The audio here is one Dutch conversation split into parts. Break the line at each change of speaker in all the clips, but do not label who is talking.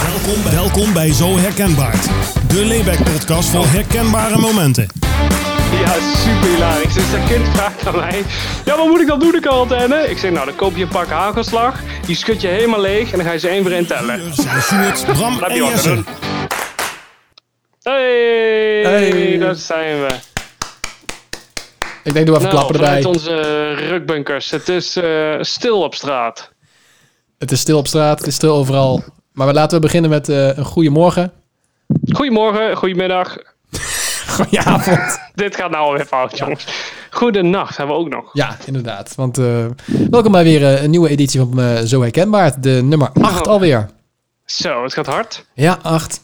Welkom bij, welkom bij Zo Herkenbaar. De Layback-podcast voor herkenbare momenten.
Ja, super hilarisch. Dus dat kind vraagt aan mij: Ja, wat moet ik dan doen, de quarantaine? Ik zeg: Nou, dan koop je een pak hagelslag, die schud je helemaal leeg en dan ga je ze één voor één tellen.
Hier zijn Sjoerd, Bram
Laat
en
je wat
Jesse.
doen. Hey,
Hey.
dat zijn we.
Ik denk, doe even
Nou,
klappen
vanuit
erbij.
onze rukbunkers. Het is eh, stil op straat.
Het is stil op straat, het is stil overal. Maar we- laten we beginnen met eh, een goede morgen.
Goedemorgen, goedemiddag.
Goedenavond.
Dit gaat nou alweer fout, jongens. Goedenacht hebben we ook nog.
ja, inderdaad. Want eh, welkom bij weer eh, een nieuwe editie van eh, Zo Herkenbaar. De nummer 8
Oh.
alweer.
Zo, het gaat hard.
Ja, 8.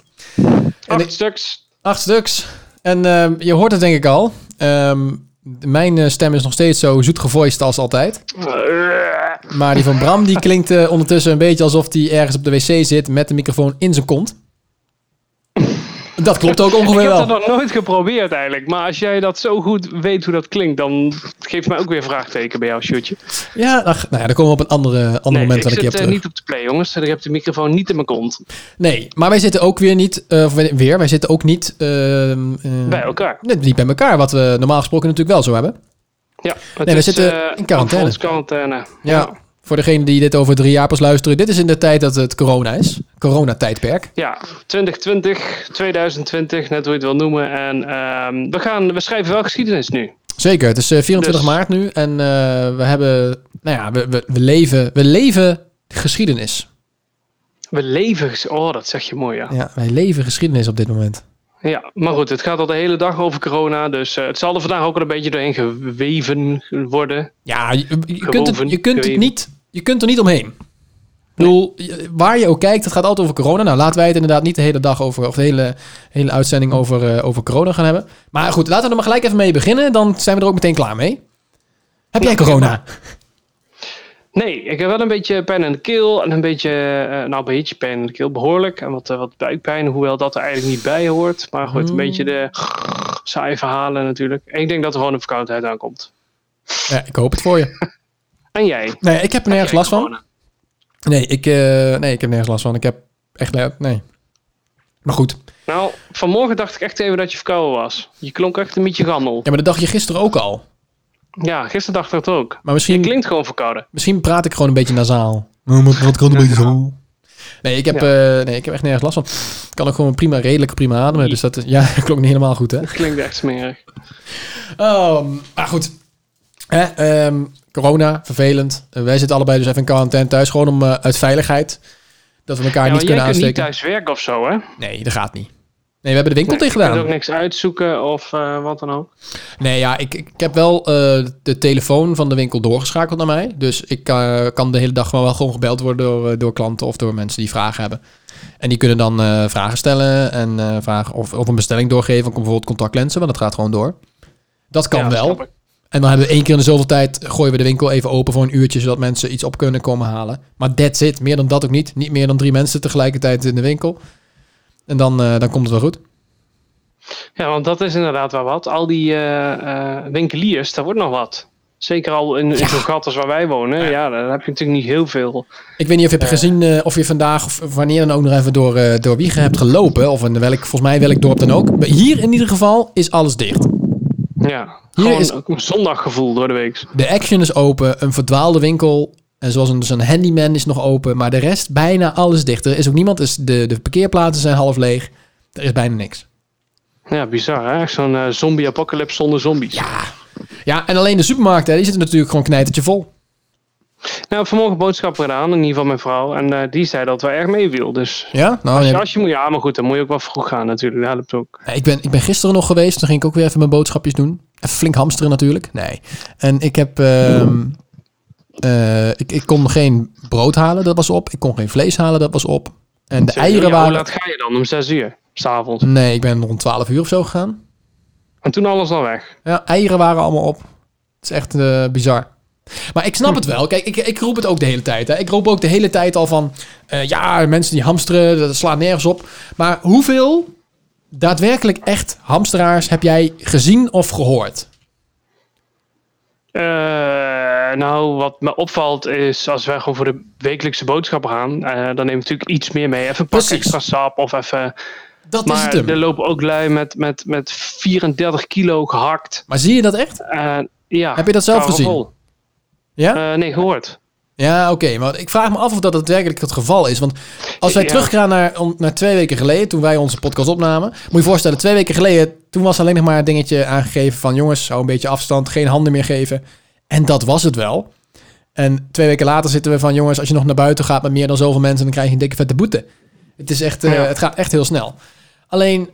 Acht
ik-
stuks.
8 stuks. En ehm, je hoort het denk ik al. Ehm, mijn eh, stem is nog steeds zo zoet gevoiced als altijd. Maar die van Bram die klinkt eh, ondertussen een beetje alsof hij ergens op de wc zit met de microfoon in zijn kont. Dat klopt ook ongeveer
Ik heb
wel.
dat nog nooit geprobeerd eigenlijk. Maar als jij dat zo goed weet hoe dat klinkt, dan geeft mij ook weer vraagteken bij jou, shootje.
Ja, ach, nou ja, daar komen we op een andere, ander moment
ik
wel een
zit
keer op
eh,
terug.
niet op de play, jongens. Ik heb de microfoon niet in mijn kont.
Nee, maar wij zitten ook weer niet, eh, of wij- weer, wij zitten ook niet... ehm, eh,
Bij elkaar.
net Niet bij elkaar, wat we normaal gesproken natuurlijk wel zo hebben.
Ja, het
we
is,
zitten
eh,
in quarantaine.
Ons quarantaine.
Ja. Voor degene die dit over drie jaar pas luisteren, dit is in de tijd dat het corona is. Coronatijdperk.
Ja, 2020, 2020, net hoe je het wil noemen. En ehm, we, gaan, we schrijven wel geschiedenis nu.
Zeker, het is eh, 24
Dus-
maart nu en eh, we hebben, nou ja, we, we, we leven, we leven geschiedenis.
We leven... ges- Oh, dat zeg je mooi, ja.
Ja, wij leven geschiedenis op dit moment.
Ja, maar goed, het gaat al de hele dag over corona. Dus eh, het zal er vandaag ook al een beetje doorheen geweven worden.
Ja, je, je kunt, het, je,
Gewoven,
kunt het
geweven.
niet, je kunt er niet omheen. Ik bedoel, je- waar je ook kijkt, het gaat altijd over corona. Nou, laten wij het inderdaad niet de hele dag over, of de hele, hele uitzending over, eh, over corona gaan hebben. Maar goed, laten we er maar gelijk even mee beginnen. Dan zijn we er ook meteen klaar mee. Heb jij corona?
Nee, ik heb wel een beetje pijn in de keel en een beetje, eh, nou een beetje pijn in de keel, behoorlijk. En wat, eh, wat buikpijn, hoewel dat er eigenlijk niet bij hoort. Maar goed, een beetje de
Hmm.
saaie verhalen natuurlijk. En ik denk dat er gewoon een verkoudheid aankomt.
Ja, ik hoop het voor je.
En jij?
Nee, ik heb er nergens
Jij
last van.
corona?
Nee ik, eh, nee, ik heb nergens last van. Ik heb echt... eh, Nee. Maar goed.
Nou, vanmorgen dacht ik echt even dat je verkouden was. Je klonk echt een beetje gammel.
Ja, maar dat dacht je gisteren ook al.
Ja, gisteren dacht ik dat ook.
Maar
Je
misschien...
klinkt gewoon verkouden.
Misschien praat ik gewoon een beetje nasaal. praat ik een beetje zo. Nee ik, heb, eh, nee, ik heb echt nergens last van. Ik kan ook gewoon prima, redelijk prima ademen. Dus dat is, ja, dat klopt niet helemaal goed, hè?
Het klinkt echt smerig.
Ehm, maar goed. Hè, ehm, corona, vervelend. Eh, wij zitten allebei dus even in quarantaine thuis. Gewoon om, eh, uit veiligheid. Dat we elkaar
Ja,
niet
maar jij
kunnen
kunt niet
aansteken.
thuis werken of zo, hè? Nee,
nee, dat gaat niet. Nee, we hebben de winkel
je
tegen
kunt
gedaan.
ook niks uitzoeken of eh, wat dan ook.
Nee, ja, ik, ik heb wel eh, de telefoon van de winkel doorgeschakeld naar mij. Dus ik eh, kan de hele dag gewoon wel gewoon gebeld worden door, eh, door klanten of door mensen die vragen hebben. En die kunnen dan eh, vragen stellen en eh, vragen of, of een bestelling doorgeven. Of bijvoorbeeld contactlenzen, want dat gaat gewoon door. Dat kan
Ja, dat
wel.
snap ik.
En dan hebben we één keer in de zoveel tijd gooien we de winkel even open voor een uurtje, zodat mensen iets op kunnen komen halen. Maar that's it. Meer dan dat ook niet. Niet meer dan drie mensen tegelijkertijd in de winkel. En dan, eh, dan komt het wel goed.
Ja, want dat is inderdaad wel wat. Al die eh, eh, winkeliers, daar wordt nog wat. Zeker al in, in zo'n gat als waar wij wonen. Ja. daar heb je natuurlijk niet heel veel.
Ik weet niet of je hebt gezien eh, of je vandaag of wanneer dan ook nog even door, eh door Wiegen hebt gelopen. Of in welk, volgens mij welk dorp dan ook. Maar hier in ieder geval is alles dicht.
Ja,
Hier
gewoon
is-
ook een zondaggevoel door de week.
De Action is open, een verdwaalde winkel. En zoals een, dus een handyman is nog open. Maar de rest, bijna alles dicht. Er is ook niemand, dus de, de parkeerplaatsen zijn half leeg. Er is bijna niks.
Ja, bizar hè? Echt zo'n eh, zombie-apocalypse zonder zombies. Nou,
Ja, en alleen de supermarkten, die zitten natuurlijk gewoon knijtertje vol.
Nou, vanmorgen boodschappen gedaan, in ieder geval mijn vrouw. En eh, die zei dat we erg mee wil. Dus
Ja? Nou,
ja,
ja,
als je moet, ja, maar goed, dan moet je ook wel vroeg gaan natuurlijk. Dat helpt ook.
Eh, ik, ben, ik ben gisteren nog geweest. Toen ging ik ook weer even mijn boodschapjes doen. Even flink hamsteren natuurlijk. Nee. En ik heb... ehm, eh, ik, ik kon geen brood halen, dat was op. Ik kon geen vlees halen, dat was op. En de eieren
Ja, Hoe
waren...
laat ga je dan? Om zes uur, s'avonds.
Nee, ik ben rond 12 uur of zo gegaan.
En toen alles al weg.
Ja, eieren waren allemaal op. Het is echt eh, bizar. Maar ik snap het wel. Kijk, ik, ik roep het ook de hele tijd. Hè. Ik roep ook de hele tijd al van... eh, ja, mensen die hamsteren, dat slaat nergens op. Maar hoeveel daadwerkelijk echt hamsteraars heb jij gezien of gehoord?
Eh, Eh, nou, wat me opvalt is als wij gewoon voor de wekelijkse boodschappen gaan, eh, dan neem je natuurlijk iets meer mee. Even een pak
Precies.
extra sap of even.
Dat is
Maar
het hem.
er lopen ook lui met, met, met 34 kilo gehakt.
Maar zie je dat echt?
Eh, ja,
Heb je dat zelf gezien?
karneval.
Ja?
Eh, nee, gehoord.
Ja, oké. maar ik vraag me af of dat daadwerkelijk het geval is. Want als wij
Ja.
teruggaan naar, om- naar twee weken geleden, toen wij onze podcast opnamen. Moet je je voorstellen, twee weken geleden, toen was alleen nog maar het dingetje aangegeven van... jongens, hou een beetje afstand, geen handen meer geven. En dat was het wel. En twee weken later zitten we van... jongens, als je nog naar buiten gaat met meer dan zoveel mensen... dan krijg je een dikke vette boete. Het, is echt, eh,
Ja.
het gaat echt heel snel. Alleen,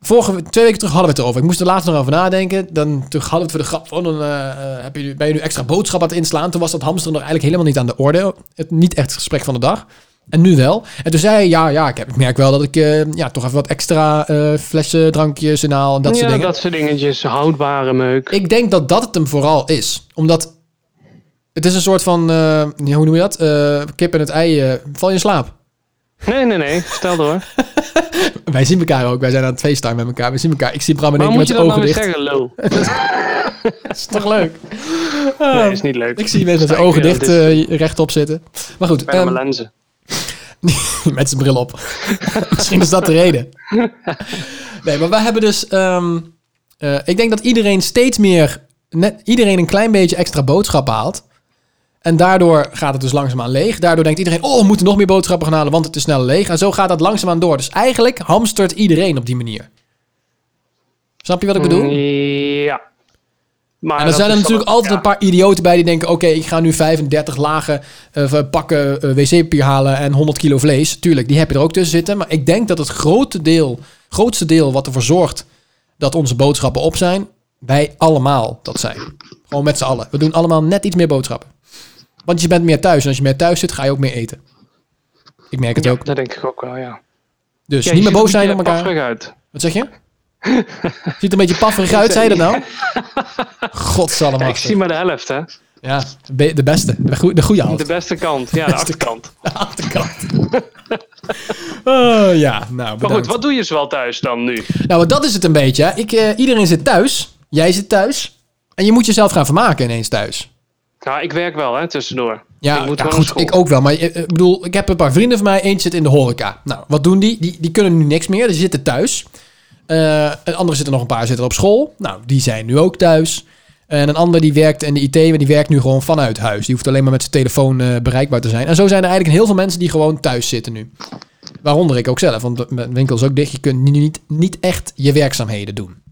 vorige, we- twee weken terug hadden we het erover. Ik moest er laatst nog over nadenken. Dan, toen hadden we het voor de grap van... Dan, eh, eh, heb je, nu- ben je nu extra boodschap aan het inslaan? Toen was dat hamster nog eigenlijk helemaal niet aan de orde. Het, niet echt het gesprek van de dag. En nu wel. En toen zei hij, ja, ja ik, heb, ik merk wel dat ik eh, ja, toch even wat extra eh, flessen, drankjes en haal en dat
ja,
soort dingen.
dat soort dingetjes. Houdbare meuk.
Ik denk dat dat het hem vooral is. Omdat het is een soort van, eh, ja, hoe noem je dat? Eh, kip en het ei, eh, val je in slaap.
Nee, nee, nee. Vertel door.
Wij zien elkaar ook. Wij zijn aan het feesten met elkaar. We zien elkaar. Ik zie Bram in één
Maar
keer
moet
met
je
zijn
dat nou
ogen
weer
dicht.
zeggen, lul?
Dat is toch leuk? Ehm,
Nee, is niet leuk.
Ik zie mensen
Sta
met zijn
ik
ogen
weer aan
dicht
dit-
eh, rechtop zitten. Maar goed,
dus- Ik ben aan
ehm,
mijn lenzen.
met zijn bril op. Misschien is dat de reden. Nee, maar wij hebben dus... ehm, eh, ik denk dat iedereen steeds meer... Net, iedereen een klein beetje extra boodschappen haalt. En daardoor gaat het dus langzaamaan leeg. Daardoor denkt iedereen, oh, we moeten nog meer boodschappen gaan halen, want het is snel leeg. En zo gaat dat langzaamaan door. Dus eigenlijk hamstert iedereen op die manier. Snap je wat ik bedoel?
Ja. Maar
En er
dat
zijn er
is
natuurlijk
dan-
altijd
ja.
een paar idioten bij die denken: oké, ik ga nu 35 lagen eh, pakken eh, wc-papier halen en 100 kilo vlees. Tuurlijk, die heb je er ook tussen zitten. Maar ik denk dat het grote deel, grootste deel wat ervoor zorgt dat onze boodschappen op zijn, wij allemaal dat zijn. Gewoon met z'n allen. We doen allemaal net iets meer boodschappen. Want je bent meer thuis. En als je meer thuis zit, ga je ook meer eten. Ik merk het
Ja,
ook.
dat denk ik ook wel, ja.
Dus
Ja, je ziet
niet meer boos
er
zijn
een
op
beetje
elkaar.
pafferig uit.
Wat zeg je? Ziet er een beetje pafferig uit, zei je dat nou?
Ja,
Godsallemachtig.
ik zie maar de helft, hè.
Ja, de be- de beste. De, goe- de goede hand.
De beste kant. Ja, de
Beste
achterkant.
De achterkant. oh, ja, nou
Maar goed,
bedankt.
wat doe je zoal thuis dan nu?
Nou, want dat is het een beetje. hè. Ik, eh, iedereen zit thuis. Jij zit thuis. En je moet jezelf gaan vermaken ineens thuis.
Nou, ik werk wel, hè, tussendoor.
Ja,
ik moet
ja,
gewoon
goed,
naar
ik
school.
ook wel. Maar eh, eh, ik bedoel, ik heb een paar vrienden van mij. Eentje zit in de horeca. Nou, wat doen die? Die, die kunnen nu niks meer. Die zitten thuis. Eh, een andere zitten nog een paar zitten op school. Nou, die zijn nu ook thuis. En een ander die werkt in de IT, maar die werkt nu gewoon vanuit huis. Die hoeft alleen maar met zijn telefoon eh, bereikbaar te zijn. En zo zijn er eigenlijk heel veel mensen die gewoon thuis zitten nu. Waaronder ik ook zelf, want de- mijn winkel is ook dicht. Je kunt nu niet, niet echt je werkzaamheden doen.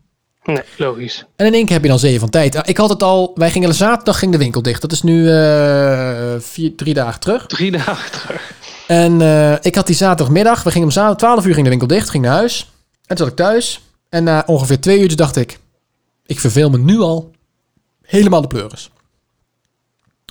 Nee, logisch.
En in één keer heb je dan zeeën van tijd. Ah, Ik had het al, wij gingen zaterdag ging de winkel dicht. Dat is nu eh, vier, drie dagen terug.
Drie dagen terug.
En eh, ik had die zaterdagmiddag, we gingen om zaterdag 12 uur ging de winkel dicht, ging naar huis. En toen zat ik thuis. En na ongeveer twee uurtjes dacht ik, ik verveel me nu al helemaal de pleuris.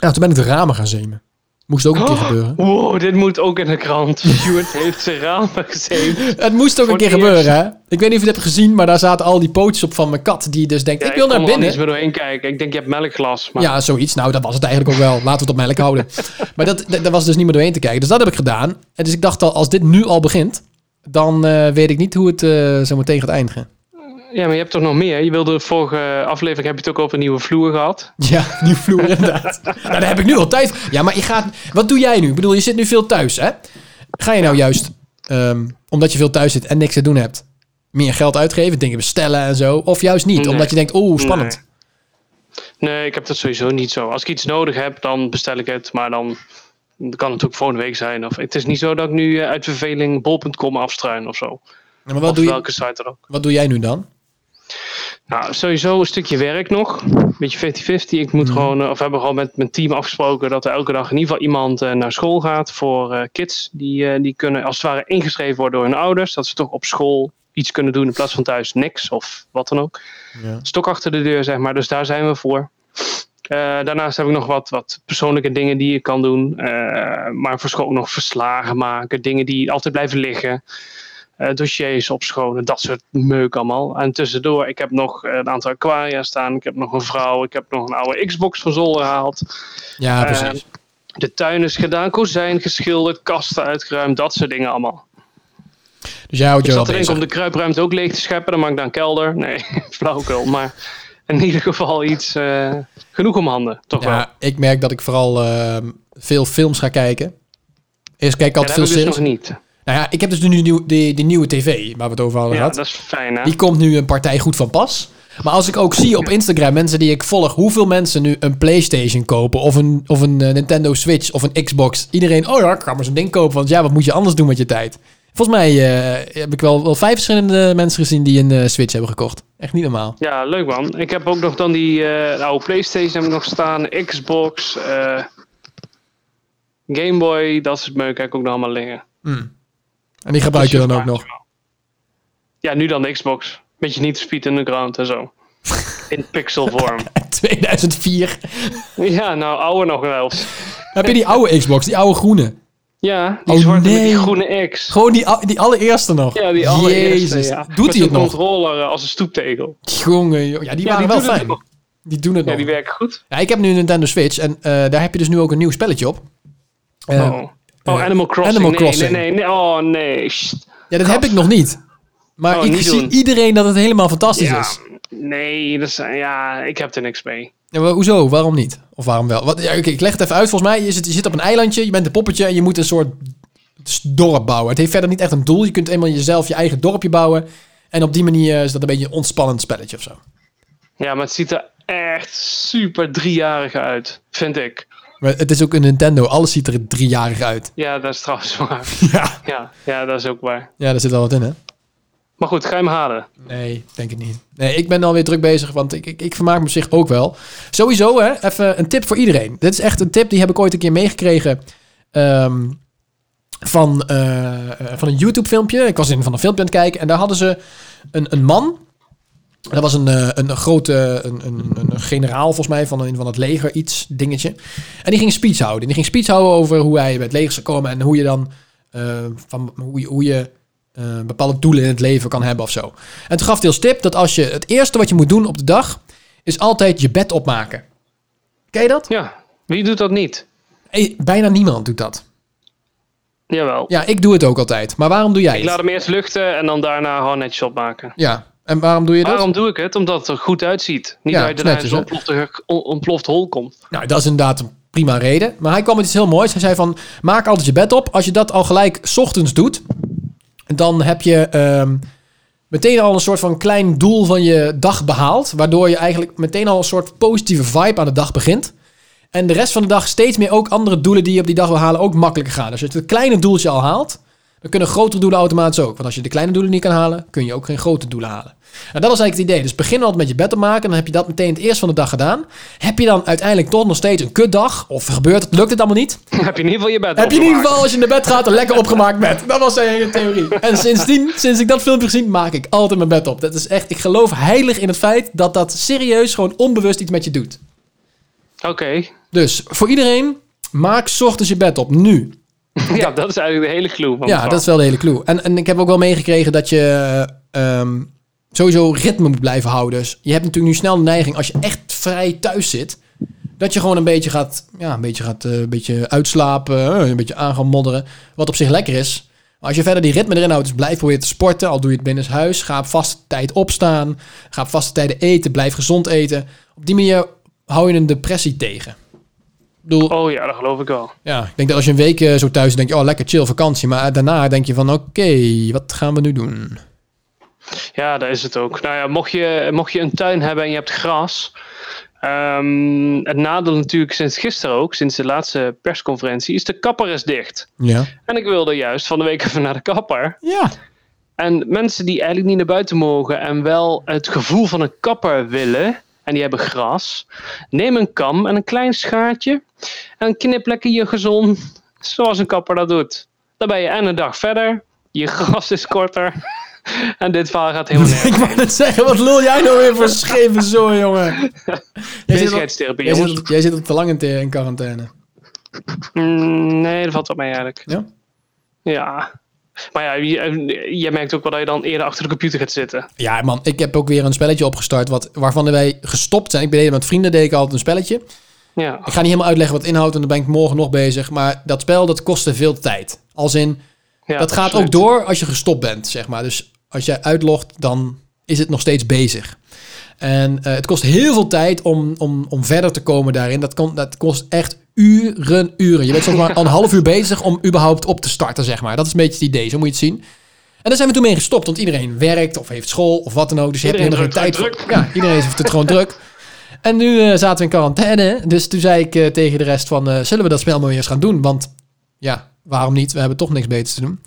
Nou, toen ben ik de ramen gaan zemen. Moest ook een
Oh,
keer gebeuren.
Wow, dit moet ook in de krant. Stuart heeft zijn ramen gezien.
Het moest ook een
Voor
keer
het eerst.
gebeuren, hè? Ik weet niet of je het hebt gezien, maar daar zaten al die pootjes op van mijn kat. Die dus denkt, ik wil naar
Ik kon er al
binnen.
niet meer doorheen kijken. Ik denk, je hebt melkglas. Maar
Ja, zoiets. Nou, dat was het eigenlijk ook wel. Laten we het op melk houden. Maar dat, dat, daar was dus niet meer doorheen te kijken. Dus dat heb ik gedaan. En dus ik dacht al, als dit nu al begint, dan eh, weet ik niet hoe het eh, zo meteen gaat eindigen.
ja, maar je hebt toch nog meer? Je wilde de vorige aflevering, heb je het ook over nieuwe vloer gehad?
Ja, nieuw vloer inderdaad. nou, daar heb ik nu al tijd voor. Ja, maar je gaat... Wat doe jij nu? Ik bedoel, je zit nu veel thuis, hè? Ga je nou juist, ehm, omdat je veel thuis zit en niks te doen hebt, meer geld uitgeven, dingen bestellen en zo? Of juist niet,
Nee.
omdat je denkt, oeh, spannend.
Nee, ik heb dat sowieso niet zo. Als ik iets nodig heb, dan bestel ik het. Maar dan kan het ook volgende week zijn. Of, het is niet zo dat ik nu eh, uit verveling bol.com afstruin of zo.
Ja, maar wat
of
doe, je,
welke site er ook.
wat doe jij nu dan?
Nou, sowieso een stukje werk nog. Beetje 50-50. Ik moet gewoon, eh, of we hebben gewoon met mijn team afgesproken dat er elke dag in ieder geval iemand eh, naar school gaat voor eh, kids. Die, eh, die kunnen als het ware ingeschreven worden door hun ouders. Dat ze toch op school iets kunnen doen in plaats van thuis niks of wat dan ook.
Ja.
Stok achter de deur, zeg maar. Dus daar zijn we voor. Eh, daarnaast heb ik nog wat, wat persoonlijke dingen die ik kan doen. Eh, maar voor school ook nog verslagen maken. Dingen die altijd blijven liggen eh dossiers opschonen, dat soort meuk allemaal. En tussendoor, ik heb nog een aantal aquaria staan, ik heb nog een vrouw, ik heb nog een oude Xbox van zolder gehaald.
Ja,
Eh,
precies.
De tuin is gedaan, kozijn geschilderd, kasten uitgeruimd, dat soort dingen allemaal.
dus jij houdt
Ik
je wel
zat er denk
bezig.
om de kruipruimte ook leeg te scheppen, dan maak ik dan kelder. Nee, flauwekul, maar... in ieder geval iets eh, genoeg om handen, toch wel.
Ja, ik merk dat ik vooral ehm, veel films ga kijken. Eerst kijk
Ja,
ik
dat
altijd
heb ik
veel
dus
series.
nog niet.
Nou ja, ik heb dus nu nieuw, die, die nieuwe tv, waar we het over hadden
Ja,
gehad.
dat is fijn, hè?
Die komt nu een partij goed van pas. Maar als ik ook zie op Instagram mensen die ik volg, hoeveel mensen nu een PlayStation kopen of een, of een eh, Nintendo Switch of een Xbox. Iedereen, oh ja, ik ga maar zo'n ding kopen, want ja, wat moet je anders doen met je tijd? Volgens mij eh, heb ik wel, wel vijf verschillende mensen gezien die een eh, Switch hebben gekocht. Echt niet normaal.
Ja, leuk man. Ik heb ook nog dan die eh, de oude Playstation heb ik nog staan, Xbox, eh, Game Boy, dat soort meuk heb ik ook nog allemaal liggen.
En die gebruik je dan
Dus
ook nog.
Ja, nu dan de Xbox. Beetje niet Speed Underground en zo. In pixelvorm.
2004.
ja, nou, ouder nog wel.
heb je die oude Xbox, die oude groene?
Ja, die
Oh,
zwarte met
nee.
die groene X.
Gewoon die, ou- die allereerste nog.
Ja, die allereerste.
Jezus,
ja.
doet
Met
hij het
zo'n
nog?
controller eh, als een stoeptegel.
Jongen, joh. ja, die
Ja,
waren
die
wel
doen het
fijn.
nog.
Die doen het
Ja,
nog.
die werken goed.
Ja, ik heb nu een Nintendo Switch en eh, daar heb je dus nu ook een nieuw spelletje op. Eh,
oh. Oh,
eh,
Animal Crossing.
Animal
nee,
Crossing.
Nee, nee, nee. Oh, nee. Sst.
Ja, dat heb ik nog niet. Maar
Oh,
ik
niet
zie
doen.
iedereen dat het helemaal fantastisch
Ja,
is.
nee. Dat zijn, ja, ik heb er niks mee.
Ja, maar hoezo? Waarom niet? Of waarom wel? Wat, ja, oké, ik leg het even uit. Volgens mij is het, je zit op een eilandje, je bent een poppetje en je moet een soort s- dorp bouwen. Het heeft verder niet echt een doel. Je kunt eenmaal jezelf je eigen dorpje bouwen. En op die manier is dat een beetje een ontspannend spelletje of zo.
Ja, maar het ziet er echt super driejarig uit, vind ik.
Maar het is ook een Nintendo. Alles ziet er driejarig uit.
Ja, dat is trouwens waar.
Ja.
Ja, ja dat is ook waar.
Ja, daar zit wel wat in, hè?
Maar goed, ga je hem halen.
Nee, denk het niet. Nee, ik ben alweer druk bezig, want ik, ik, ik vermaak me op zich ook wel. Sowieso, hè, even een tip voor iedereen. Dit is echt een tip, die heb ik ooit een keer meegekregen ehm, van, eh, eh, van een YouTube-filmpje. Ik was in van een filmpje aan het kijken en daar hadden ze een, een man. Dat was een, eh, een, een grote een, een, een- een generaal, volgens mij, van, een, van het leger, iets, dingetje. En die ging een speech houden. En die ging speech houden over hoe hij bij het leger zou komen en hoe je dan eh, van, hoe je, hoe je eh, bepaalde doelen in het leven kan hebben of zo. En toen gaf hij als tip dat als je het eerste wat je moet doen op de dag is altijd je bed opmaken. Ken je dat?
Ja, wie doet dat niet?
Eh, bijna niemand doet dat.
Jawel.
Ja, ik doe het ook altijd. Maar waarom doe jij
Ik laat
het?
hem eerst luchten en dan daarna gewoon netjes opmaken.
Ja. En waarom doe je dat?
Waarom doe ik het? Omdat het er goed uitziet. Niet
Ja,
dat je daarna in
netjes,
zo'n
hè?
ontplofte- on- ontploft hol komt.
Nou, dat is inderdaad een prima reden. Maar hij kwam met iets heel moois. Hij zei van, maak altijd je bed op. Als je dat al gelijk 's ochtends doet, dan heb je ehm, meteen al een soort van klein doel van je dag behaald. Waardoor je eigenlijk meteen al een soort positieve vibe aan de dag begint. En de rest van de dag steeds meer ook andere doelen die je op die dag wil halen ook makkelijker gaan. Dus als je het kleine doeltje al haalt, dan kunnen grotere doelen automatisch ook. Want als je de kleine doelen niet kan halen, kun je ook geen grote doelen halen. En dat was eigenlijk het idee. Dus begin altijd met je bed te maken. Dan heb je dat meteen het eerst van de dag gedaan. Heb je dan uiteindelijk toch nog steeds een kutdag? Of gebeurt het, lukt het allemaal niet?
heb je in ieder geval je bed
Heb je in ieder
opgemaakt.
geval als je naar bed gaat een lekker opgemaakt bed. Dat was zijn hele theorie. En sindsdien, sinds ik dat filmpje gezien, maak ik altijd mijn bed op. Dat is echt, ik geloof heilig in het feit dat dat serieus gewoon onbewust iets met je doet.
Oké.
Dus voor iedereen, maak 's ochtends je bed op. Nu.
Ja, dat is eigenlijk de hele clue. Van het
Ja,
verhaal.
dat is wel de hele clue. En, en ik heb ook wel meegekregen dat je ehm, sowieso ritme moet blijven houden. Dus je hebt natuurlijk nu snel de neiging, als je echt vrij thuis zit, dat je gewoon een beetje gaat, ja, een beetje gaat eh, een beetje uitslapen, eh, een beetje aan gaan modderen. Wat op zich lekker is. Maar als je verder die ritme erin houdt, dus blijf proberen te sporten, al doe je het binnen huis. Ga op vaste tijd opstaan, ga op vaste tijden eten, blijf gezond eten. Op die manier hou je een depressie tegen. Ik bedoel,
Oh ja, dat geloof ik wel.
ja, ik denk dat als je een week eh, zo thuis zit, denk je, oh lekker chill vakantie. Maar eh, daarna denk je van, oké, wat gaan we nu doen?
Ja, dat is het ook. Nou ja, mocht je, mocht je een tuin hebben en je hebt gras. ehm, het nadeel natuurlijk sinds gisteren ook, sinds de laatste persconferentie, is de kapper is dicht.
Ja.
En ik wilde juist van de week even naar de kapper.
Ja.
En mensen die eigenlijk niet naar buiten mogen en wel het gevoel van een kapper willen, en die hebben gras, neem een kam en een klein schaartje en knip lekker je gezond, zoals een kapper dat doet. Dan ben je en een dag verder, je gras is korter en dit verhaal gaat helemaal nergens.
ik wou net zeggen, wat lul jij nou weer voor scheve zo, jongen? Jij zit, al,
Bezigheidstherapie,
jij,
jongens.
zit, al- jij zit al te lang in, te- in quarantaine.
Mm, nee, dat valt wel mee eigenlijk.
Ja?
Ja. Maar ja, je, je merkt ook wel dat je dan eerder achter de computer gaat zitten.
Ja, man, ik heb ook weer een spelletje opgestart wat, waarvan wij gestopt zijn. Ik ben met vrienden, deed ik altijd een spelletje.
Ja.
Ik ga niet helemaal uitleggen wat het inhoudt, en dan ben ik morgen nog bezig. Maar dat spel, dat kostte veel tijd. Als in,
ja
dat gaat
absoluut.
ook door als je gestopt bent, zeg maar. Dus als jij uitlogt, dan is het nog steeds bezig. En eh, het kost heel veel tijd om, om, om verder te komen daarin. Dat, kon, dat kost echt uren, uren. Je bent soms maar een half uur bezig om überhaupt op te starten, zeg maar. Dat is een beetje het idee, zo moet je het zien. En daar zijn we toen mee gestopt, want iedereen werkt of heeft school of wat dan ook. Dus je hebt
Iedereen
helemaal geen tijd
heeft
voor.
het
Ja, iedereen heeft het gewoon druk. En nu eh, zaten we in quarantaine. Dus toen zei ik eh, tegen de rest van, eh, zullen we dat spel maar weer eens gaan doen? Want ja, waarom niet? We hebben toch niks beters te doen.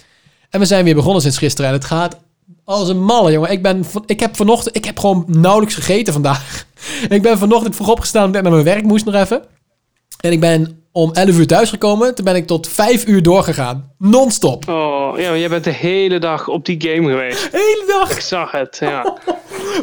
En we zijn weer begonnen sinds gisteren. En het gaat als een malle, jongen. Ik, ben van- ik heb vanochtend... Ik heb gewoon nauwelijks gegeten vandaag. ik ben vanochtend vroeg opgestaan. Ik ben naar mijn werk moest nog even. En ik ben om 11 uur thuis gekomen. Toen ben ik tot 5 uur doorgegaan. Non-stop.
Oh, ja, maar jij bent de hele dag op die game geweest.
De hele dag.
Ik zag het, ja.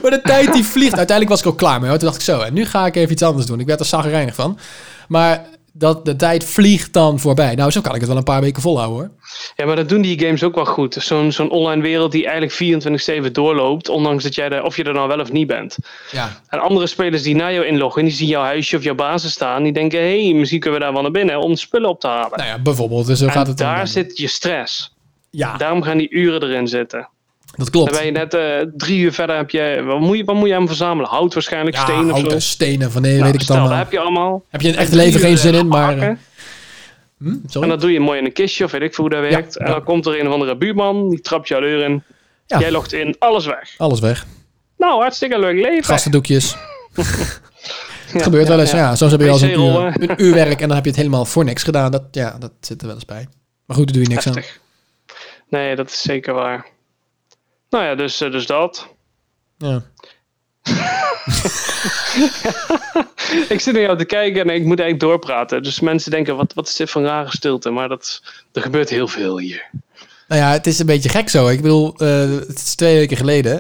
Maar de tijd die vliegt. Uiteindelijk was ik al klaar mee. Hoor. Toen dacht ik zo. En nu ga ik even iets anders doen. Ik werd er zagrijnig van. Maar dat, de tijd vliegt dan voorbij. Nou, zo kan ik het wel een paar weken volhouden hoor.
Ja, maar dat doen die games ook wel goed. Zo'n zo'n online wereld die eigenlijk 24-7 doorloopt, ondanks dat jij er, of je er nou wel of niet bent.
Ja.
En andere spelers die na jou inloggen, die zien jouw huisje of jouw basis staan, die denken, hé, hey, misschien kunnen we daar wel naar binnen om spullen op te halen.
Nou ja, bijvoorbeeld. Dus zo gaat
en
het dan
daar
dan. Ah.
zit je stress.
Ja,
Daarom gaan die uren erin zitten.
dat
Dan
klopt.
ben je net eh, drie uur verder, heb je, wat, moet je, wat moet je aan verzamelen? Hout waarschijnlijk,
Ja,
steen of zo.
houten, stenen van nee,
Nou,
weet ik het
stel,
allemaal.
dat heb je allemaal.
Heb je in het echte
En
leven
drie
geen
uur,
zin
eh,
in, maar...
hakken.
eh, hm, sorry?
En dat doe je mooi in een kistje of weet ik veel hoe dat
Ja,
werkt. En
ja.
dan komt er een of andere buurman, die trapt jouw deur in.
Ja.
Jij logt in, alles weg.
Alles weg.
Nou, hartstikke leuk leven.
Gastendoekjes. het gebeurt wel eens. Ja, soms heb je wel eens een uur,
PC-rollen.
een uur werk en dan heb je het helemaal voor niks gedaan. Dat, ja, dat zit er wel eens bij. Maar goed, daar doe je niks
Heftig. Nee, dat is zeker waar. Nou ja, dus, eh, dus dat.
aan. Ja.
Ik zit naar jou te kijken en ik moet eigenlijk doorpraten. Dus mensen denken, wat, wat is dit voor een rare stilte? Maar dat, er gebeurt heel veel hier.
Nou ja, het is een beetje gek zo. Ik bedoel, eh, het is twee weken geleden.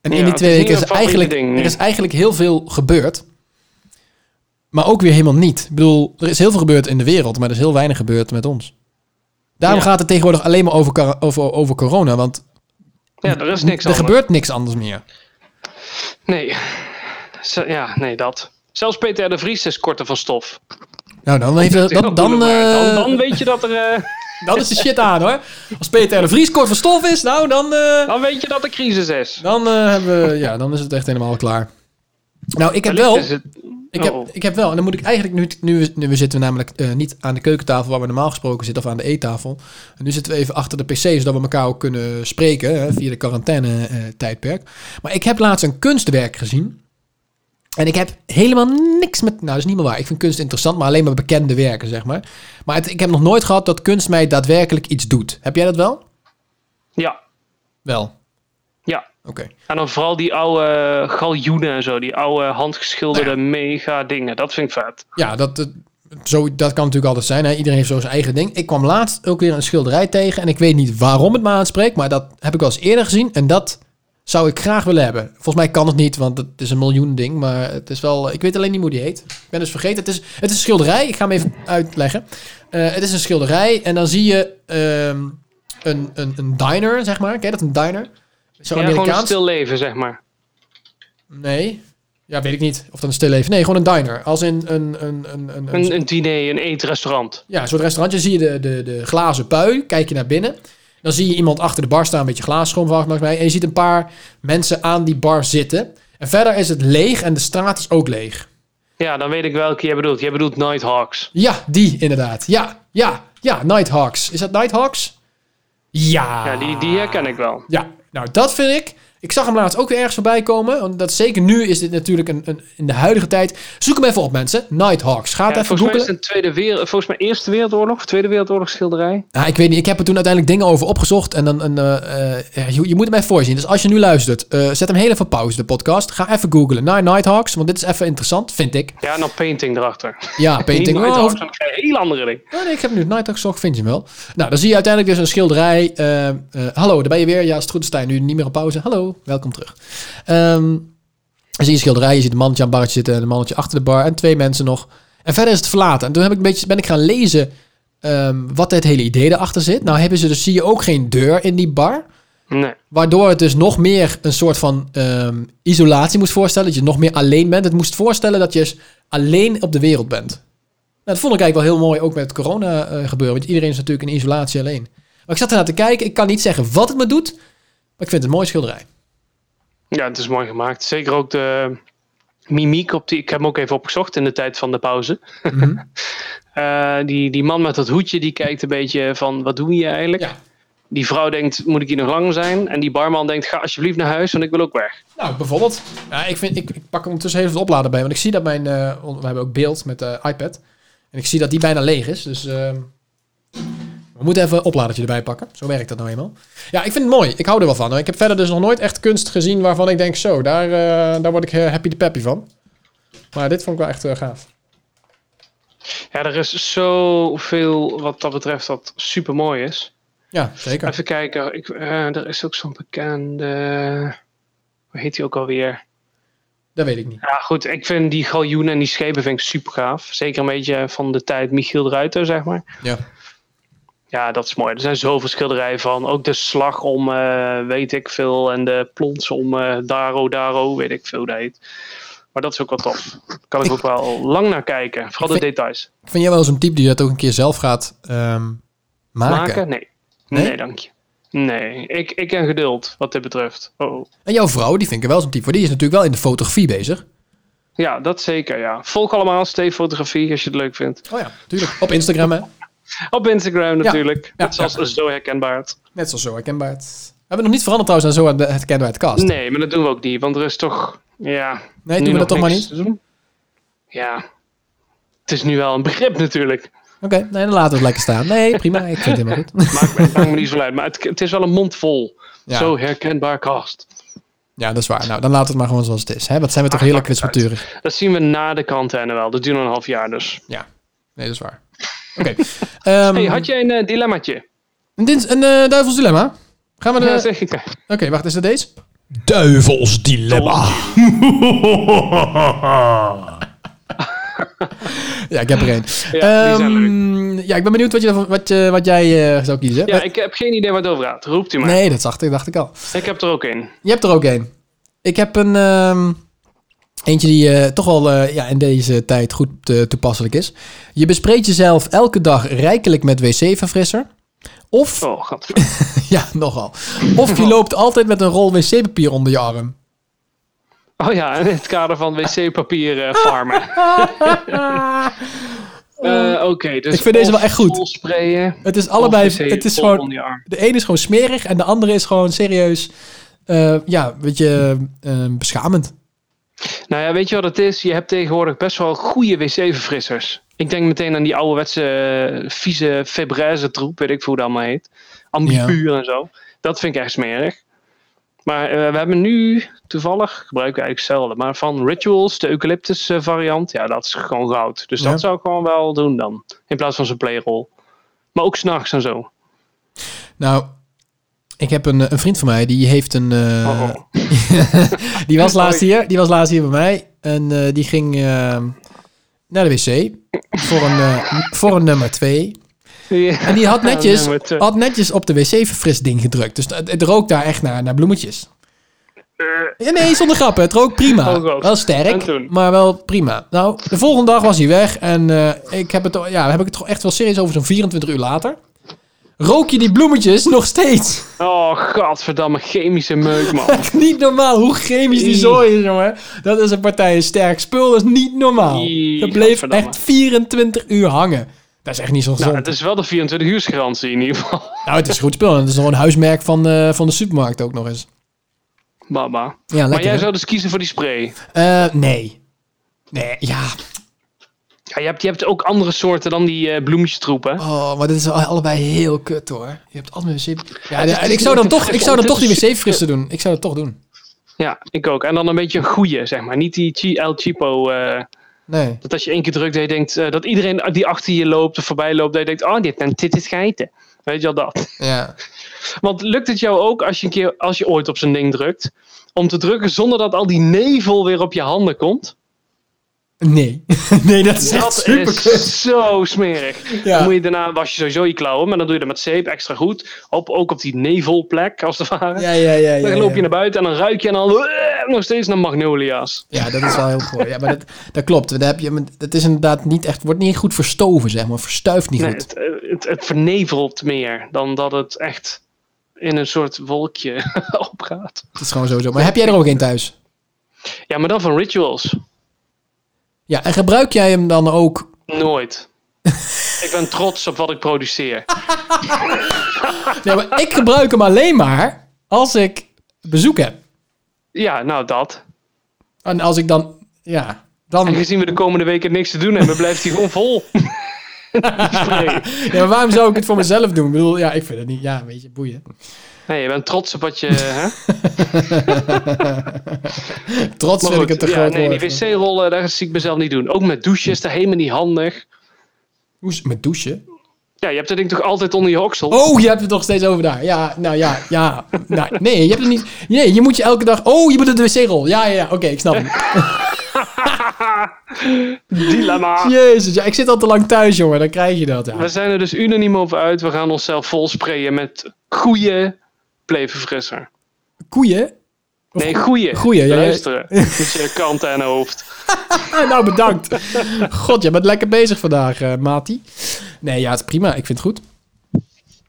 En
Ja,
in die
het
twee
is niet
weken is
een
er eigenlijk,
favoriet ding,
er
nee.
is eigenlijk heel veel gebeurd. Maar ook weer helemaal niet. Ik bedoel, er is heel veel gebeurd in de wereld, maar er is heel weinig gebeurd met ons. Daarom
Ja.
gaat het tegenwoordig alleen maar over, kar- over, over corona, want
Ja, er is niks
er
anders.
gebeurt niks anders meer.
Nee. Zo- ja, nee, dat. Zelfs Peter R. de Vries is korter van stof.
Nou, dan, heeft, dat, dan, dan,
dan,
eh,
dan weet je dat er, eh,
dan is de shit aan hoor. Als Peter R. de Vries kort van stof is, nou dan... eh,
dan weet je dat er crisis is.
dan, eh, hebben we, ja, dan is het echt helemaal klaar. Nou, ik heb wel...
Is het-
Ik heb,
Oh.
ik heb wel, en dan moet ik eigenlijk nu, nu, we- nu we zitten namelijk eh, niet aan de keukentafel waar we normaal gesproken zitten of aan de eettafel. En nu zitten we even achter de pc zodat we elkaar ook kunnen spreken hè, via de quarantaine eh, tijdperk. Maar ik heb laatst een kunstwerk gezien. En ik heb helemaal niks met. Nou, dat is niet meer waar. Ik vind kunst interessant, maar alleen maar bekende werken, zeg maar. Maar het- ik heb nog nooit gehad dat kunst mij daadwerkelijk iets doet. Heb jij dat wel?
Ja,
Wel.
ja.
Oké.
En dan vooral die oude eh, galjoenen en zo. Die oude handgeschilderde mega dingen. Dat vind ik vet.
Ja, dat, dat, zo, dat kan natuurlijk altijd zijn. Hè? Iedereen heeft zo zijn eigen ding. Ik kwam laatst ook weer een schilderij tegen. En ik weet niet waarom het me aanspreekt. Maar dat heb ik wel eens eerder gezien. En dat zou ik graag willen hebben. Volgens mij kan het niet, want het is een miljoen ding. Maar het is wel... Ik weet alleen niet hoe die heet. Ik ben dus vergeten. Het is, het is een schilderij. Ik ga hem even uitleggen. Eh, het is een schilderij. En dan zie je ehm, een, een, een diner, zeg maar. Ken je dat? Een diner? Zo'n
Ja, gewoon een
Amerikaans...
stil leven, zeg maar.
Nee. Ja, weet ik niet. Of dan een stil leven. Nee, gewoon een diner. Als in een... een, een, een,
Een, een diner, een eetrestaurant.
Ja, een soort restaurantje. Zie je de, de, de glazen pui, kijk je naar binnen. Dan zie je iemand achter de bar staan, een beetje glasschoon volgens mij. En je ziet een paar mensen aan die bar zitten. En verder is het leeg en de straat is ook leeg.
Ja, dan weet ik welke jij bedoelt. Jij bedoelt Nighthawks.
Ja, die inderdaad. Ja, ja, ja. Nighthawks. Is dat Nighthawks? Ja.
Ja, die,
Ah.
die herken ik wel.
Ja, nou dat vind ik. Ik zag hem laatst ook weer ergens voorbij komen. want Dat zeker nu is dit natuurlijk een, een, in de huidige tijd. Zoek hem even op, mensen. Nighthawks. Ga het
Ja, volgens
even
mij is
googlen.
het een tweede wereld, volgens mij Eerste Wereldoorlog, Tweede Wereldoorlog schilderij.
Nou, ik weet niet. Ik heb er toen uiteindelijk dingen over opgezocht. En dan, en, eh, eh, ja, je, je moet hem even voorzien. Dus als je nu luistert, eh, zet hem heel even op pauze, de podcast. Ga even googlen naar Nighthawks, want dit is even interessant, vind ik.
Ja, en dan painting erachter.
Ja, painting.
Niet
Oh,
Nighthawks,
hoeft-
dan krijg je een heel andere ding.
Oh, nee, ik heb nu Nighthawks gezocht, vind je hem wel. Nou, dan zie je uiteindelijk dus een schilderij. eh, eh, hallo, daar ben je weer. Ja, is het goed, sta je nu niet meer op pauze. Hallo, welkom terug. Ehm, dan zie je een schilderij, je ziet een mannetje aan het barretje zitten... en een mannetje achter de bar en twee mensen nog. En verder is het verlaten. En toen heb ik een beetje, ben ik gaan lezen ehm, wat het hele idee erachter zit. Nou hebben ze dus, zie je ook geen deur in die bar...
Nee.
Waardoor het dus nog meer een soort van ehm, isolatie moest voorstellen. Dat je nog meer alleen bent. Het moest voorstellen dat je eens alleen op de wereld bent. Nou, dat vond ik eigenlijk wel heel mooi, ook met het corona eh, gebeuren. Want iedereen is natuurlijk in isolatie alleen. Maar ik zat ernaar te kijken. Ik kan niet zeggen wat het me doet. Maar ik vind het een mooi schilderij.
Ja, het is mooi gemaakt. Zeker ook de mimiek op die. Ik heb hem ook even opgezocht in de tijd van de pauze.
Mhm.
Eh, die, die man met dat hoedje die kijkt een beetje van wat doe je eigenlijk?
Ja.
Die vrouw denkt, moet ik hier nog lang zijn? En die barman denkt, ga alsjeblieft naar huis, want ik wil ook weg.
Nou, bijvoorbeeld. Ja, ik, vind, ik, ik pak hem ondertussen even het opladen bij. Want ik zie dat mijn... eh, on- we hebben ook beeld met de iPad. En ik zie dat die bijna leeg is. Dus ehm, we moeten even een opladertje erbij pakken. Zo werkt dat nou eenmaal. Ja, ik vind het mooi. Ik hou er wel van. Ik heb verder dus nog nooit echt kunst gezien waarvan ik denk... Zo, daar, eh, daar word ik eh, happy de peppy van. Maar dit vond ik wel echt eh, gaaf.
Ja, er is zoveel wat dat betreft dat super mooi is.
Ja, zeker.
Even kijken, ik, eh, er is ook zo'n bekende. Hoe heet die ook alweer?
Dat weet ik niet.
Ja, goed, ik vind die galjoenen en die schepen vind ik super gaaf. Zeker een beetje van de tijd Michiel de Ruiter, zeg maar.
Ja.
Ja, dat is mooi. Er zijn zoveel schilderijen van. Ook de slag om, eh, weet ik veel. En de plons om eh, Daro, Daro, weet ik veel hoe dat heet. Maar dat is ook wel tof. Kan ik ook wel lang naar kijken. Vooral de
Ik
details.
Ik vind jij wel eens een type die dat ook een keer zelf gaat ehm, maken.
Maken? Nee.
Nee?
Nee, dank je. Nee, ik, ik heb geduld wat dit betreft. Oh, oh.
En jouw vrouw, die vind ik wel zo'n type. Want die is natuurlijk wel in de fotografie bezig.
Ja, dat zeker, ja. Volg allemaal Steve Fotografie als je het leuk vindt.
Oh ja, tuurlijk. Op Instagram, hè.
Op Instagram natuurlijk.
ja,
Net zoals Zo Herkenbaar. Het.
Net zoals zo herkenbaar. het- We hebben nog niet veranderd trouwens aan zo het herkenbaar het cast.
Nee, maar dat doen we ook niet. Want er is toch... Ja,
Nee,
nu
doen we dat
nog
toch maar
niks
niet?
te doen. Ja. Het is nu wel een begrip natuurlijk.
Oké, nee, dan laten we het lekker staan. Nee, prima. Ik vind het helemaal goed.
Maakt me, het maakt me niet zo uit. Maar het, het is wel een mond vol.
Ja.
Zo herkenbaar kast.
Ja, dat is waar. Nou, dan laten we het maar gewoon zoals het is. Hè? Wat zijn we toch
Ah,
heerlijk
maakt het
wispelturig.
Dat zien we na de kantine wel. Dat duurt nog een half jaar dus.
Ja, nee, dat is waar. Oké. Ehm,
Hey, had jij een eh, dilemmaatje?
Een, dins- een eh, duivels dilemma? Gaan we de...
Ja,
Oké,
zeg ik.
wacht. Is dat deze?
Duivels dilemma.
Oh.
Ja, ik heb er één.
Ja, die zijn
Ehm, ja, ik ben benieuwd wat, je, daarvan- wat, je- wat jij eh, zou kiezen.
Ja, ik heb geen idee waar het over gaat. Roept u maar.
Nee, dat dacht ik, dacht ik al.
Ik heb er ook een.
Je hebt er ook één. Ik heb een. ehm, eentje die eh, toch wel eh, ja, in deze tijd goed eh, toepasselijk is. Je bespreekt jezelf elke dag rijkelijk met wc-verfrisser. Of,
Oh, gadver.
ja, nogal. Of je loopt altijd met een rol wc-papier onder je arm.
Oh ja, in het kader van wc-papier eh, farmen. Ah. Eh, Oké, dus
Ah. Ik vind
of
deze wel echt goed.
vol sprayen,
Het is
of
allebei.
wc
Het is
vol
gewoon.
onder je arm.
De ene is gewoon smerig en de andere is gewoon serieus. eh, ja, weet je, eh, beschamend.
Nou ja, weet je wat het is? Je hebt tegenwoordig best wel goede wc-verfrissers. Ik denk meteen aan die ouderwetse eh, vieze febraise troep, weet ik veel hoe dat allemaal heet. Ambipuur en zo. Dat vind ik echt smerig. Maar eh, we hebben nu toevallig, gebruiken we eigenlijk zelden, maar van Rituals, de eucalyptus eh, variant, ja, dat is gewoon goud. Dus
Ja.
dat zou ik gewoon wel doen dan, in plaats van zo'n playrol. Maar ook s'nachts en zo.
Nou, ik heb een, eh, een vriend van mij die heeft een. eh,
Oh, oh.
Die was laatst
Sorry.
hier, die was laatst hier bij mij. En eh, die ging eh, naar de wc voor een, eh, voor een nummer 2. En die had netjes,
nummer twee.
had netjes op de wc-verfrisding gedrukt. Dus het, het rook daar echt naar, naar bloemetjes. Ja, nee, zonder grappen. Het rook prima.
Oh, God.
wel
En
sterk,
toen?
maar wel prima. Nou, de volgende dag was hij weg. En eh, ik heb het, ja, heb ik het toch echt wel serieus over zo'n 24 uur later. Rook je die bloemetjes nog steeds?
oh, godverdamme, chemische meuk, man.
Niet normaal hoe chemisch die zooi is, jongen. Dat is een partij een sterk spul. Dat is niet normaal.
Ie,
Dat bleef
godverdamme.
echt 24 uur hangen. Dat is echt niet zo gezond.
Nou, het is wel de 24 uur garantie in ieder geval.
goed spul. En het is nog een huismerk van, eh, van de supermarkt ook nog eens.
Baba.
Ja,
maar
lekker.
jij
hè?
zou dus kiezen voor die spray.
Eh, nee. Nee, ja.
Ja, je, hebt, je hebt ook andere soorten dan die eh bloemetjestroepen.
Oh, maar dit is wel allebei heel kut, hoor. Je hebt altijd wc... Ja, ja, en
is
ik zou dan
lekker
toch,
fris,
ik zou dan toch die
ondertussen
wc-frissen doen. Ik zou dat toch doen.
Ja, ik ook. En dan een beetje een goeie, zeg maar. Niet die chi- El Chipo. eh,
Nee.
dat als je één keer drukt, dat je denkt eh, dat iedereen die achter je loopt of voorbij loopt, dat je denkt, oh, dit, dit is geiten. Weet je al dat?
Ja.
Want lukt het jou ook als je, een keer, als je ooit op zo'n ding drukt, om te drukken zonder dat al die nevel weer op je handen komt?
Nee. nee, dat is echt
Dat
super
is zo smerig.
Ja.
Dan moet je daarna was je sowieso je klauwen, maar dan doe je dat met zeep extra goed. Op, ook op die nevelplek, als het ware.
Ja, ja, ja. ja,
Dan loop je
ja.
naar buiten en dan ruik je en dan eh, nog steeds naar magnolia's.
Ja, dat is wel heel goor. Ja, maar dat, dat klopt. Dat, heb je, maar dat is inderdaad niet echt, wordt niet goed verstoven, zeg maar. Verstuift niet
Nee,
goed.
het, eh, het, het vernevelt meer dan dat het echt in een soort wolkje opgaat.
Dat is gewoon sowieso. Maar heb jij er ook een thuis?
Ja, maar dan van Rituals.
Ja, en gebruik jij hem dan ook?
Nooit. ik ben trots op wat ik produceer.
Nee, maar ik gebruik hem alleen maar als ik bezoek heb.
Ja, nou dat.
En als ik dan, ja, dan...
En gezien we de komende weken niks te doen hebben, blijft hij gewoon vol. nee.
Ja, maar waarom zou ik het voor mezelf doen? Ik bedoel, ja, ik vind het niet, ja, weet je, boeien.
nee, je bent trots op wat je... Hè?
Trots
Maar
vind
goed,
ik het te
ja,
groot
nee, die
woord.
wc-rollen, daar zie ik mezelf niet doen. Ook met douches, dat is helemaal niet handig.
Hoe is- met douchen?
Ja, je hebt dat ding toch altijd onder je oksel?
Oh, je hebt het nog steeds over daar. Ja, nou ja, ja. Nou, nee, je hebt het niet. Nee, je moet je elke dag. Oh, je moet de wc-rol. Ja, ja, ja. Oké, ik snap het.
Dilemma!
Jezus, ja, ik zit al te lang thuis, jongen. Dan krijg je dat. Ja.
We zijn er dus unaniem over uit. We gaan onszelf vol sprayen met goede plevenfrisser.
Koeien.
Nee, goede.
goeie, ja, ja.
Luisteren. Met je kant aan hoofd.
Ah, nou, bedankt. God, je bent lekker bezig vandaag, eh Mati. Nee, ja, het is prima. Ik vind het goed.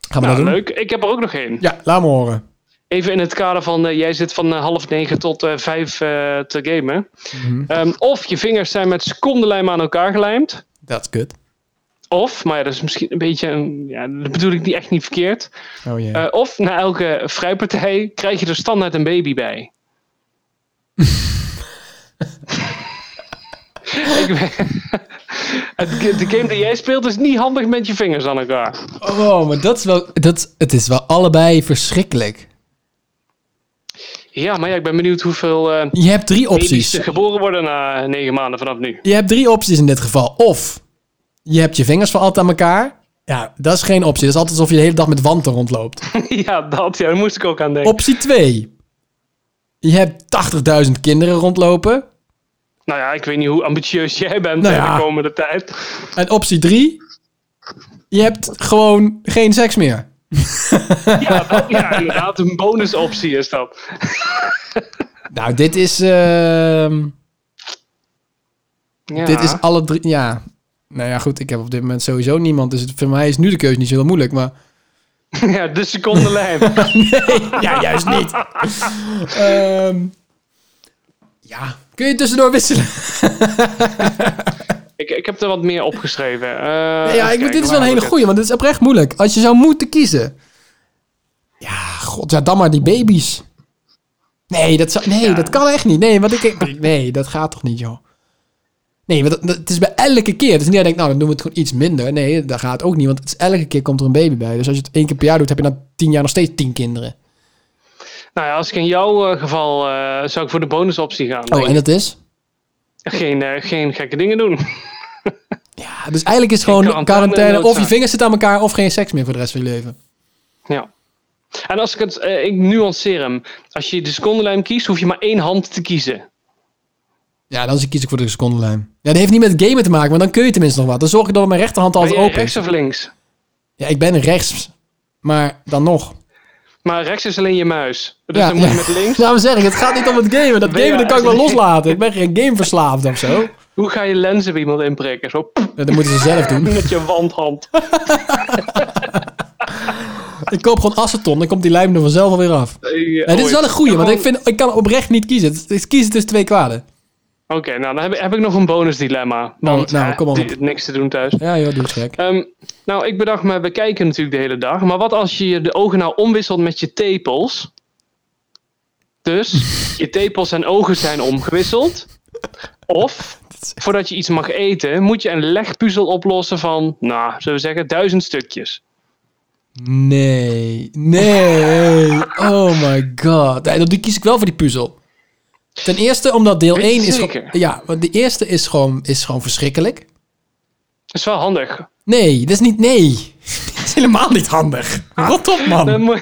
Gaan we dat
Nou,
doen?
leuk. Ik heb er ook nog één.
Ja, laat me horen.
Even in het kader van, eh, jij zit van eh, half negen tot eh, vijf eh, te gamen.
Mhm.
Ehm, of je vingers zijn met secondenlijm aan elkaar gelijmd.
Dat is kut. of
Of, maar ja, dat is misschien een beetje, een, ja, dat bedoel ik niet echt niet verkeerd.
Oh jee.
Eh, of na elke vrijpartij krijg je er standaard een baby bij. ik weet- Het ga- de game die jij speelt is niet handig met je vingers aan elkaar.
Oh, maar dat is wel. Dat, het is wel allebei verschrikkelijk.
Ja, maar ja, ik ben benieuwd hoeveel eh
Je hebt drie
baby's
opties.
er geboren worden na negen maanden vanaf nu.
Je hebt drie opties in dit geval. Of je hebt je vingers voor altijd aan elkaar. Ja, dat is geen optie. Dat is altijd alsof je de hele dag met wanten rondloopt.
ja, dat, ja, daar moest ik ook aan denken.
Optie 2. Je hebt 80.000 kinderen rondlopen.
Nou ja, ik weet niet hoe ambitieus jij bent
Nou
eh,
ja.
de komende tijd.
En optie 3. Je hebt gewoon geen seks meer.
Ja, dat- ja, inderdaad, een bonusoptie is dat.
Nou, dit is. ehm,
Ja.
Dit is alle drie. Ja. Nou ja, goed. Ik heb op dit moment sowieso niemand. Dus het- voor mij is nu de keuze niet zo heel moeilijk. Maar.
ja, de seconde lijn.
Ja, juist niet. Ehm, ja. Kun je tussendoor wisselen?
Ik, ik heb er wat meer opgeschreven. Eh,
Ja, ik,
even
moet- dit is
kijken,
wel een
waar
hele
heb ik
goeie, want dit is oprecht moeilijk. Als je zou moeten kiezen. Ja, god, ja, dan maar die baby's. Nee, dat, zou, nee, dat kan echt niet. Nee, want ik, nee, dat gaat toch niet, joh. Nee, want dat- dat- het is bij elke keer. Dus niet dat je denkt, nou, dan doen we het gewoon iets minder. Nee, dat gaat ook niet, want het is elke keer komt er een baby bij. Dus als je het één keer per jaar doet, heb je na tien jaar nog steeds tien kinderen.
het? Nou ja, als ik in jouw eh, geval eh, zou ik voor de bonusoptie gaan.
Oh, en dat is?
geen, eh, geen gekke dingen doen.
Ja, dus eigenlijk is het gewoon
quarantaine
quarantaine. Of je
noodzaak.
vingers zitten aan elkaar, of geen seks meer voor de rest van je leven.
ja. En als ik het, eh, ik nuanceer hem. Als je de secondenlijm kiest, hoef je maar één hand te kiezen.
Ja, dan kies ik voor de secondenlijn. Ja, dat heeft niet met gamen te maken, maar dan kun je tenminste nog wat. Dan zorg ik dat mijn rechterhand
Ben
altijd
jij
open
rechts
is.
of links?
Ja, ik ben rechts. Maar dan nog.
Maar rechts is alleen je muis. Dus
ja,
dan moet je
ja.
met links.
Daarom zeg ik, het gaat niet om het gamen. Dat
Ben je
gamen dat kan ik
uit-
wel loslaten. Ik ben geen gameverslaafd of zo.
Hoe ga je lenzen bij iemand inprikken? Zo pff,
Ja, Dat moeten ze zelf doen.
met je wandhand.
Ik koop gewoon aceton, dan komt die lijm er vanzelf alweer af. Ja, dit is wel een goeie, want ik, vind, ik kan oprecht niet kiezen. Het is- Kiezen tussen twee kwaden.
Oké, nou dan heb, ik- heb ik nog een bonusdilemma. Want
nou,
eh,
kom op.
die- niks te doen thuis.
Ja joh, doe het gek.
Ehm, nou, ik bedacht me, we kijken natuurlijk de hele dag. Maar wat als je de ogen nou omwisselt met je tepels? Dus je tepels en ogen zijn omgewisseld. Of, voordat je iets mag eten, moet je een legpuzzel oplossen van, nou, zullen we zeggen, duizend stukjes.
Nee. Nee. Oh my god. Nee, dan kies ik wel voor die puzzel. Ten eerste omdat deel
Weet je
1 is
zeker?
gewoon... Ja, want de eerste is gewoon, is gewoon verschrikkelijk.
Dat is wel handig.
Nee, dat is niet. Nee. Dat is helemaal niet handig. Rot op,
Dan,
man.
moet-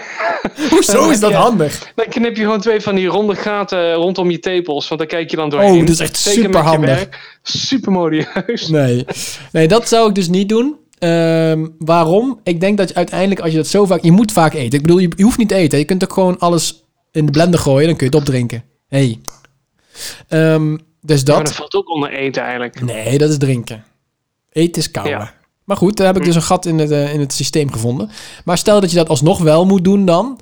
Hoezo is dat
ja.
handig?
dan knip je gewoon twee van die ronde gaten rondom je tepels, want dan kijk je dan doorheen.
Oh, dat is echt
Zeker met je
superhandig.
werk. Supermodieus.
Nee. nee, dat zou ik dus niet doen. Ehm, waarom? Ik denk dat je uiteindelijk, als je dat zo vaak... Je moet vaak eten. Ik bedoel, je, je hoeft niet te eten. Je kunt ook gewoon alles in de blender gooien. Dan kun je het opdrinken. Hey. Ehm, dus
Maar dat
dat...
valt ook onder eten eigenlijk.
Nee, dat is drinken. Eten is kouwen.
Ja.
Maar goed, daar heb ik dus een gat in het, eh, in het systeem gevonden. Maar stel dat je dat alsnog wel moet doen dan.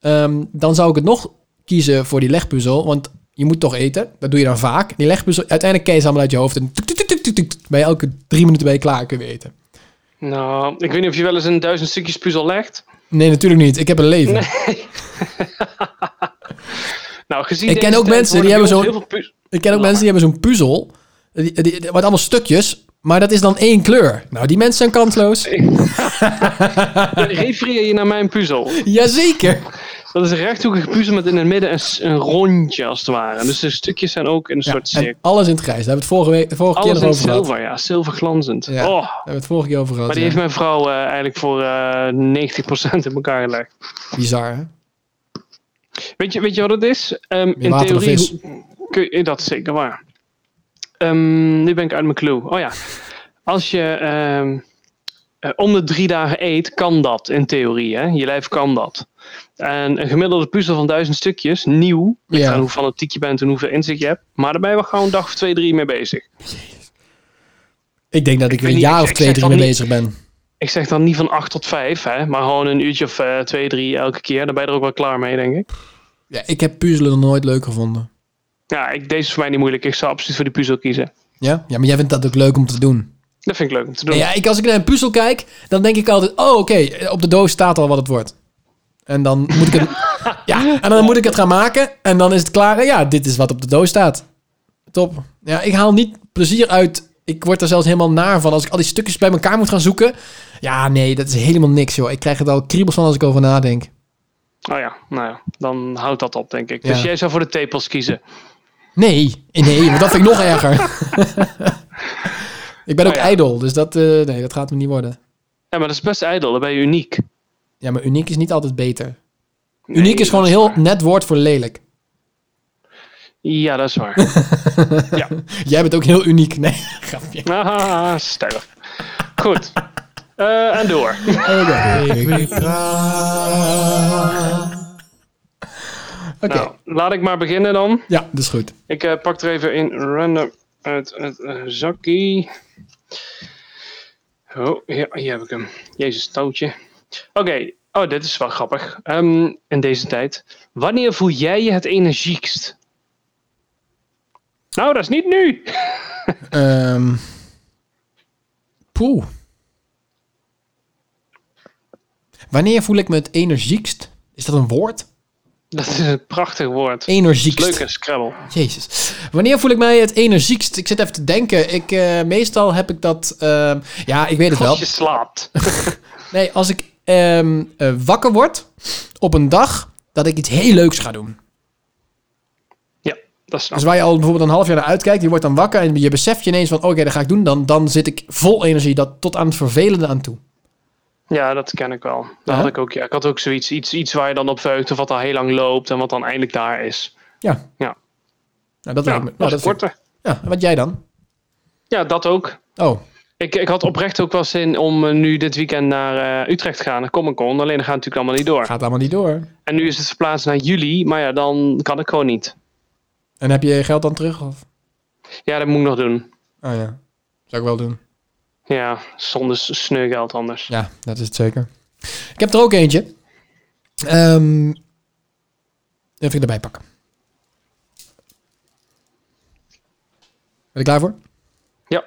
Ehm, dan zou ik het nog kiezen voor die legpuzzel. Want je moet toch eten. Dat doe je dan vaak. Die legpuzzel, uiteindelijk ken je ze allemaal uit je hoofd. En tuk, tuk, tuk, tuk, tuk, tuk. ben je elke drie minuten ben je klaar kun je weer eten.
Nou, ik weet niet of je wel eens een duizend stukjes puzzel legt.
Nee, natuurlijk niet. Ik heb een leven.
Nou, gezien
Ik ken
deze
ook
tijd
mensen die
worden bij
hebben
ons heel veel puz-
Ik ken ook mensen die hebben zo'n puzzel. Die, die, die- wat allemaal stukjes. Maar dat is dan één kleur. Nou, die mensen zijn kansloos.
Refereer je naar mijn puzzel.
Jazeker.
Dat is een rechthoekige puzzel met in het midden een, s- een rondje als het ware. Dus de stukjes zijn ook in een soort
En
cirkel.
alles in het grijs. Daar hebben we het vorige, week, de vorige keer
Alles
nog
in
over gehad.
zilver, ja. Zilverglanzend.
Ja,
Oh,
daar hebben we het vorige keer over gehad.
maar die
ja.
heeft mijn vrouw eh, eigenlijk voor eh 90% in elkaar gelegd.
Bizar, hè?
Weet je, weet je wat het is? Ehm, in
water dan
theorie.
vis.
hoe- Kun je, dat is zeker waar. Ehm, nu ben ik uit mijn clue. Oh ja. Als je ehm, eh, om de drie dagen eet, kan dat in theorie. Hè? Je lijf kan dat. En een gemiddelde puzzel van duizend stukjes, nieuw.
Ja.
Ligt aan hoe fanatiek je bent en hoeveel inzicht je hebt. Maar daar ben je wel gewoon een dag of twee, drie mee bezig.
Ik denk dat ik, er
weet niet,
een jaar
ik-
of
ik
twee,
zeg
drie
dan
mee
niet-
bezig ben.
Ik zeg dan niet van acht tot vijf, hè? maar gewoon een uurtje of eh, twee, drie elke keer. Dan ben je er ook wel klaar mee, denk ik.
Ja, ik heb puzzelen nog nooit leuk gevonden.
Ja, ik, deze is voor mij niet moeilijk. Ik zou absoluut voor die puzzel kiezen.
Ja? ja, maar jij vindt dat ook leuk om te doen.
Dat vind ik leuk om te doen.
Ja, ik, als ik naar een puzzel kijk, dan denk ik altijd... Oh, oké, op de doos staat al wat het wordt. En dan moet ik het... ja, en dan moet ik het gaan maken. En dan is het klaar. En Ja, dit is wat op de doos staat. Top. Ja, ik haal niet plezier uit... Ik word er zelfs helemaal naar van als ik al die stukjes bij elkaar moet gaan zoeken. Ja, nee, dat is helemaal niks, joh. Ik krijg het al kriebels van als ik over nadenk.
Oh ja, nou ja, dan houdt dat op, denk ik.
Ja.
Dus jij zou voor de tepels kiezen.
Nee, nee, want dat vind ik nog erger. ik ben ook
Oh ja.
ijdel, dus dat, eh, nee, dat gaat me niet worden.
Ja, maar dat is best ijdel, dan ben je uniek.
Ja, maar uniek is niet altijd beter.
Nee,
uniek is gewoon een
dat
heel
waar.
net woord voor lelijk.
Ja, dat is waar.
Jij bent ook heel uniek. Nee, grapje.
ah, stuif. Goed. Eh, en door.
Oké,
Nou, laat ik maar beginnen dan.
ja, dat is goed.
Ik eh, pak er even in random uit het eh, zakkie. Oh, hier, hier heb ik hem. Jezus, touwtje. Oké, oh, dit is wel grappig. Ehm, in deze tijd. Wanneer voel jij je het energiekst? Nou, dat is niet nu.
Ehm poeh. Wanneer voel ik me het energiekst? Is dat een woord?
Dat is een prachtig woord.
Energiekst.
Leuk en Scrabble.
Jezus. Wanneer voel ik mij het energiekst? Ik zit even te denken. Ik, eh, meestal heb ik dat... ehm, ja, ik weet het wel.
Als je slaapt.
Nee, als ik ehm, eh, wakker word op een dag dat ik iets heel leuks ga doen.
Ja, dat snap
Dus
ik.
waar je al bijvoorbeeld een half jaar naar uitkijkt, je wordt dan wakker en je beseft je ineens van oh, oké, dat ga ik doen. Dan, dan zit ik vol energie dat tot aan het vervelende aan toe.
Ja, dat ken ik wel. Dat
Ja?
had ik ook. Ja, ik had ook zoiets. Iets, iets waar je dan op verheugt of wat al heel lang loopt en wat dan eindelijk daar is.
Ja.
Ja.
Nou, dat
Ja,
lijkt me.
dat
Nou,
is
dat
korter.
vind ik- ja, wat jij dan?
Ja, dat ook.
Oh,
Ik, ik had oprecht ook wel zin om eh, nu dit weekend naar eh, Utrecht te gaan, naar Comic Con. Alleen dat gaat natuurlijk allemaal niet door.
gaat allemaal niet door.
En nu is het verplaatst naar juli, maar ja, dan kan ik gewoon niet.
En heb je je geld dan terug? Of?
Ja, dat moet ik nog doen.
Oh ja, zou ik wel doen.
Ja, zonder s- sneugeld anders.
Ja, dat is het zeker. Ik heb er ook eentje. Ehm, even erbij pakken. Ben je klaar voor?
Ja.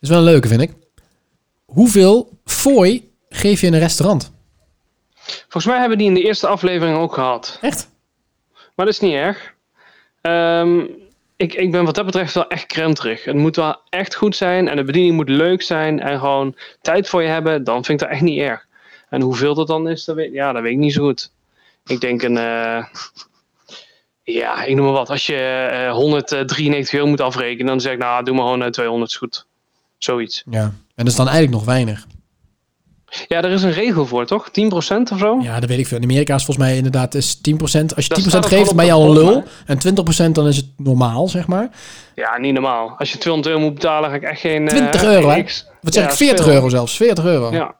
is wel een leuke, vind ik. Hoeveel fooi geef je in een restaurant?
Volgens mij hebben we die in de eerste aflevering ook gehad.
Echt?
Maar dat is niet erg. Ehm, ik, ik ben wat dat betreft wel echt krenterig. Het moet wel echt goed zijn en de bediening moet leuk zijn en gewoon tijd voor je hebben. Dan vind ik dat echt niet erg. En hoeveel dat dan is, dat weet, ja, dat weet ik niet zo goed. Ik denk een. eh, ja, ik noem maar wat. Als je eh, 193 euro moet afrekenen, dan zeg ik, nou, doe maar gewoon eh, 200 is goed. Zoiets.
Ja. En dat is dan eigenlijk nog weinig.
Ja, er is een regel voor, toch? 10% of zo?
Ja, dat weet ik veel. In Amerika is volgens mij inderdaad is 10%. Als je
Daar
10%
staat het
geeft,
gewoon
ben je
op
al
de
een lul.
pot,
En 20% dan is het normaal, zeg maar.
Ja, niet normaal. Als je 200 euro moet betalen, ga ik echt geen. eh,
20 euro, hè?
niks.
Wat zeg
Ja,
ik? 40
speel.
euro zelfs. 40 euro.
Ja.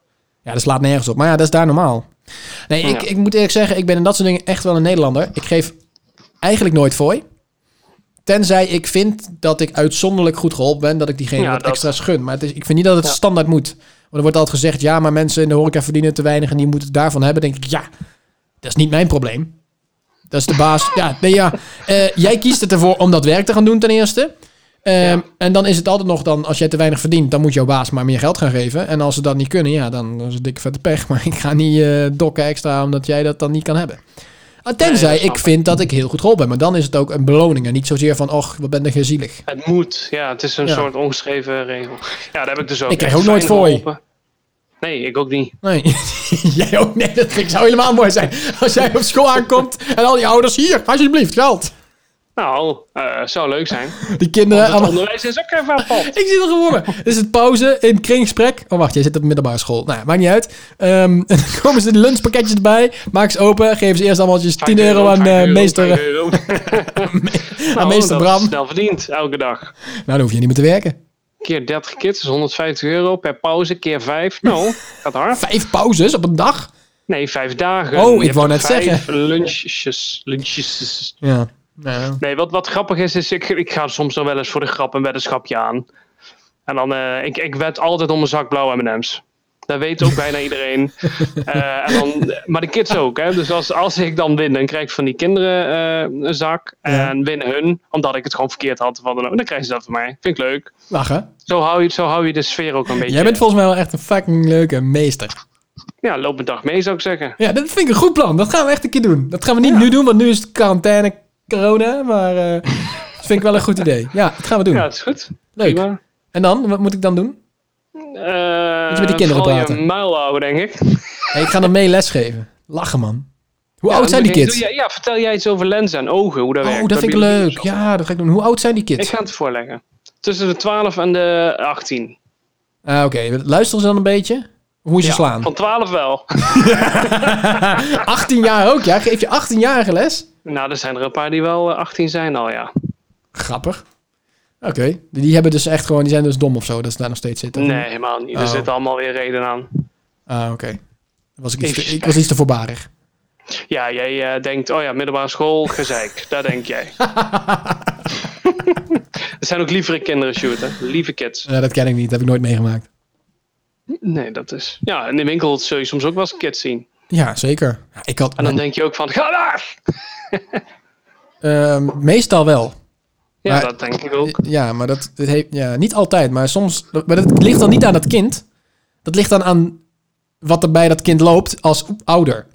Ja, dat slaat nergens op. Maar ja, dat is daar normaal. Nee, ik,
Ja.
ik moet eerlijk zeggen, ik ben in dat soort dingen echt wel een Nederlander. Ik geef eigenlijk nooit fooi. Tenzij ik vind dat ik uitzonderlijk goed geholpen ben, dat ik diegene
Ja,
wat
dat-
extra's gun. Maar het is, ik vind niet dat het
Ja.
standaard moet. Want er wordt altijd gezegd, ja, maar mensen in de horeca verdienen te weinig en die moeten het daarvan hebben. Dan denk ik, ja, Dat is niet mijn probleem. Dat is de baas. Ja, nee, ja. Eh, jij kiest het ervoor om dat werk te gaan doen ten eerste. Ehm,
Ja.
En dan is het altijd nog dan, als jij te weinig verdient, dan moet jouw baas maar meer geld gaan geven. En als ze dat niet kunnen, ja, dan is het dikke vette pech. Maar ik ga niet eh, dokken extra omdat jij dat dan niet kan hebben. Ah, tenzij
Nee, dat snap
ik vind dat ik heel goed geholpen ben. Maar dan is het ook een beloning. En niet zozeer van, och, wat ben je gezielig.
Het moet. Ja, het is een
Ja.
soort ongeschreven regel. Ja, daar heb ik dus ook.
Ik krijg
echt
ook nooit
fijn
fooi.
geholpen. Nee, ik ook niet.
Nee, jij ook nee, dat zou helemaal mooi zijn. Als jij op school aankomt en al die ouders, hier, alsjeblieft, geld.
Nou, eh zou leuk zijn.
Die kinderen
Het
allemaal...
onderwijs is ook even apart.
Ik zie het gewoon voor me. Dus het pauze in kringgesprek. Oh, wacht, jij zit op de middelbare school. Nou, ja, maakt niet uit. Ehm, en dan komen ze de lunchpakketjes erbij. Maak ze open. Geven ze eerst allemaal 10 euro aan eh, meester, eh, aan meester Bram.
Oh, Snel verdiend, elke dag.
Nou, dan hoef je niet meer te werken.
Keer 30 kids is 150 euro per pauze, keer 5. Nou, gaat hard.
Vijf pauzes op een dag.
Nee, 5 dagen.
Oh,
Je
ik
hebt
wou net
vijf
zeggen.
Lunches. Lunches.
Ja. Nou,
Nee, wat, wat grappig is, is ik, ik ga soms er wel eens voor de grap een weddenschapje aan. En dan, eh, ik, ik wed altijd om een zak blauwe M&M's. Dat weet ook bijna iedereen. Eh, en dan, maar de kids ook, hè. Dus als, als ik dan win, dan krijg ik van die kinderen eh, een zak.
Ja.
En winnen hun, omdat ik het gewoon verkeerd had. of wat Dan, ook, dan krijgen ze dat van mij. Vind ik leuk.
lachen.
Zo hou je, zo hou je de sfeer ook een beetje.
Jij bent volgens mij wel echt een fucking leuke meester.
Ja, loop een dag mee, zou ik zeggen.
Ja, dat vind ik een goed plan. Dat gaan we echt een keer doen. Dat gaan we niet nu doen, want nu is het quarantaine, corona. Maar eh, dat vind ik wel een goed idee. Ja, dat gaan we doen.
Ja, dat is goed.
Leuk.
Prima.
En dan? Wat moet ik dan doen?
Eh,
Moet je met die kinderen
vooral
praten?
Je muil houden, denk ik.
Hey, ik ga dan mee lesgeven. Lachen, man. Hoe
Ja,
oud zijn die
doe
kids?
jij- ja, vertel jij iets over lenzen en ogen, hoe dat werkt.
Oh, dat vind ik
bij biologie
leuk.
of zo.
Ja, dat ga ik doen. Hoe oud zijn die
Ik
kids?
ga het voorleggen. Tussen de 12 en de 18.
Ah, Oké, luisteren ze dan een beetje? Hoe moet je
Ja,
slaan?
Van 12 wel.
18 jaar ook, ja? Geef je 18-jarige les?
nou, er zijn er een paar die wel eh, 18 zijn al, ja.
Grappig. Oké, die, die hebben dus echt gewoon, die zijn dus dom of zo, dat ze daar nog steeds zitten.
Nee, helemaal niet. Er
Oh.
zitten allemaal weer reden aan.
Ah, oké. Dan Was ik, iets te,
Even-
ik was iets te voorbarig.
Ja, jij eh, denkt, oh ja, middelbare school, gezeik. Daar denk jij. Er zijn ook lievere kinderen, Sjoerd, hè. Lieve kids.
Ja, Eh, dat ken ik niet, dat heb ik nooit meegemaakt.
Nee, dat is... Ja, in de winkel zul je soms ook wel eens kids zien.
Ja, zeker. Ja, Ik had,
En dan denk je ook van, ga daar!
Ehm, meestal wel.
Ja,
Maar-
dat denk ik ook.
Ja, maar dat, dat heeft, ja, niet altijd, maar soms. Maar dat ligt dan niet aan dat kind. Dat ligt dan aan wat er bij dat kind loopt als ouder.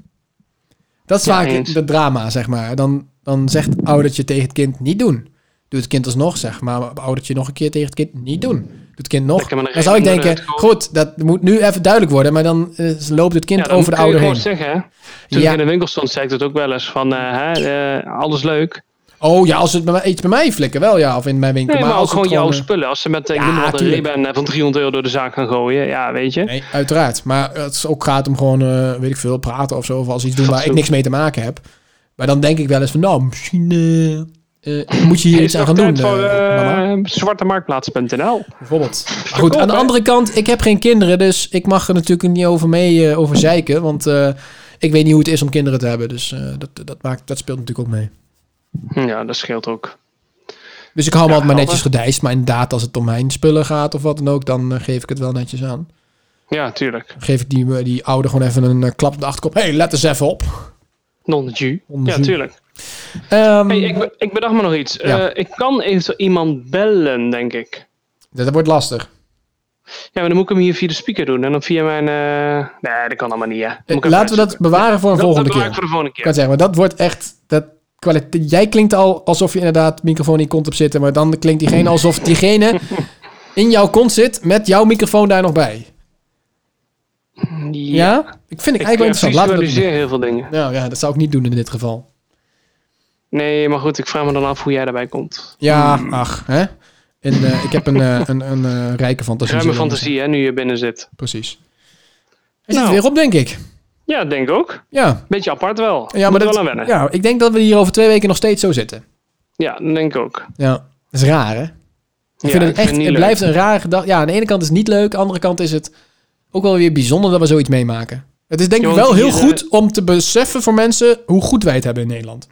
Dat is
Ja,
vaak
eens.
het drama, zeg maar. Dan, dan zegt oudertje tegen het kind niet doen. Doet het kind alsnog, zeg maar. maar Oudertje nog een keer tegen het kind niet doen. Doet het kind nog.
Lekker met een
Dan zou ik
reden
denken,
onderuit gooien.
goed, dat moet nu even duidelijk worden. Maar dan eh, loopt het kind
Ja,
over de
kun je
ouder heen.
gewoon zeggen, hè. Toen
Ja.
ik in de winkel stond, zei ik dat ook wel eens. Van, eh, hè, eh, alles leuk.
Oh ja, als het bij mij, iets bij mij flikken wel, ja. Of in mijn winkel.
Nee, maar, ook
als het
gewoon jouw
eh,
spullen. Als ze met eh, ik
Ja,
noem maar wat, een
tuurlijk.
Ray-Ban eh, van 300 euro door de zaak gaan gooien. Ja, weet je.
Nee, uiteraard. Maar het is ook gaat om gewoon, eh, weet ik veel, praten of zo. Of als iets doen waar ik
Fatsoen.
niks mee te maken heb. Maar dan denk ik wel eens van, nou, misschien eh, eh, moet je hier iets aan gaan doen.
voor
eh, mama,
eh, zwartemarktplaats.nl.
bijvoorbeeld. Maar goed, aan de
hè?
andere kant, ik heb geen kinderen. Dus ik mag er natuurlijk niet over mee eh, over zeiken. Want eh, ik weet niet hoe het is om kinderen te hebben. Dus eh, dat, dat, maakt, dat speelt natuurlijk ook mee.
Ja, dat scheelt ook.
Dus ik hou me
Ja,
altijd maar netjes
helder.
gedijst. Maar inderdaad, als het om mijn spullen gaat of wat dan ook, dan eh, geef ik het wel netjes aan.
Ja, tuurlijk.
Dan geef ik die, die ouder gewoon even een eh, klap op de achterkop. hey, let eens even op.
non ju
Non-ju.
Ja, tuurlijk.
Ehm,
Hey, ik, be- ik bedacht me nog iets.
Ja.
Eh, ik kan eventueel iemand bellen, denk ik.
Dat wordt lastig.
Ja, maar dan moet ik hem hier via de speaker doen. En dan via mijn... eh, Nee, dat kan allemaal niet, hè. Moet ik even
Laten we dat
uitzoeken.
bewaren voor een
Dat-
volgende
dat bewaar ik voor
keer.
de volgende
Ik
keer.
kan zeggen, maar dat wordt echt. Dat kwaliteit. Jij klinkt al alsof je inderdaad microfoon in kont hebt zitten, maar dan klinkt diegene alsof diegene in jouw kont zit met jouw microfoon daar nog bij. Ja? Ik vind
Ik
het
eh,
eigenlijk wel interessant. Laten we dat doen.
visualiseer heel veel dingen.
Nou ja, dat zou ik niet doen in dit geval.
Nee, maar goed, ik vraag me dan af hoe jij daarbij komt.
Ja, ach, hè? En, eh, ik heb een, eh, een, een eh, rijke fantasie.
Ruime
zullen we maar
fantasie, hè, nu je binnen zit.
zeggen. Precies. Hij zit
Nou.
er weer op, denk ik.
Ja, denk ik ook.
Ja.
Beetje apart wel.
Ja, maar
Moet
dat,
wel aan wennen. Ja.
ja, ik denk dat we hier over twee weken nog steeds zo zitten.
dat denk ik ook.
Ja, dat is raar, hè? Ik
Ja,
vind het echt,
niet
het
leuk.
blijft een rare gedachte. Ja, aan de ene kant is het niet leuk, aan de andere kant is het ook wel weer bijzonder dat we zoiets meemaken. Het is denk ik
Ja,
wel
want
heel
hier, eh,
goed om te beseffen voor mensen hoe goed wij het hebben in Nederland.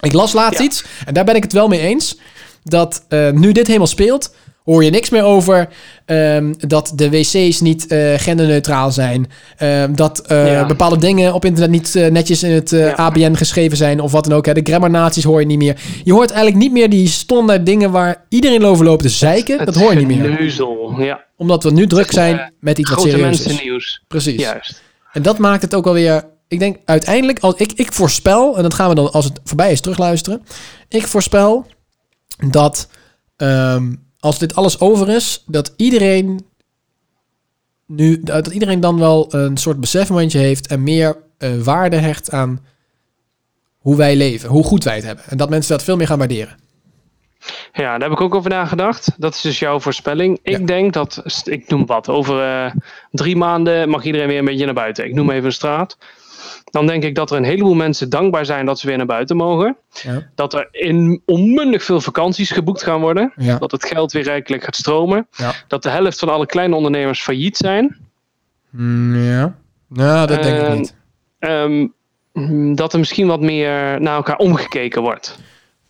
Ik las laatst
Ja.
iets, en daar ben ik het wel mee eens, dat eh, nu dit helemaal speelt, hoor je niks meer over ehm, dat de wc's niet eh, genderneutraal zijn. ehm, dat eh,
Ja.
bepaalde dingen op internet niet eh, netjes in het eh,
Ja.
ABN geschreven zijn of wat dan ook. Hè. De grammarnaties hoor je niet meer. Je hoort eigenlijk niet meer die standaard dingen waar iedereen over loopt te zeiken.
Het
Dat hoor je niet meer.
Geneuzel, ja.
Omdat we nu druk
eh,
zijn met iets wat
Grote
serieus is.
mensennieuws.
Precies.
Juist.
En dat maakt het ook alweer. Ik denk uiteindelijk, als ik, ik voorspel, en dat gaan we dan als het voorbij is terugluisteren. Ik voorspel dat ehm, als dit alles over is, dat iedereen nu, dat iedereen dan wel een soort besefmomentje heeft en meer eh, waarde hecht aan hoe wij leven, hoe goed wij het hebben. En dat mensen dat veel meer gaan waarderen.
Ja, daar heb ik ook over nagedacht. Dat is dus jouw voorspelling. Ik
Ja.
denk dat, st- ik noem wat, over eh, drie maanden mag iedereen weer een beetje naar buiten. Ik noem even een straat. Dan denk ik dat er een heleboel mensen dankbaar zijn dat ze weer naar buiten mogen.
Ja.
Dat er in onmundig veel vakanties geboekt gaan worden.
Ja.
Dat het geld weer rijkelijk gaat stromen.
Ja.
Dat de helft van alle kleine ondernemers failliet zijn.
Mm, ja. Nou, dat denk ik
Ehm,
niet.
Ehm, mm, dat er misschien wat meer naar elkaar omgekeken wordt.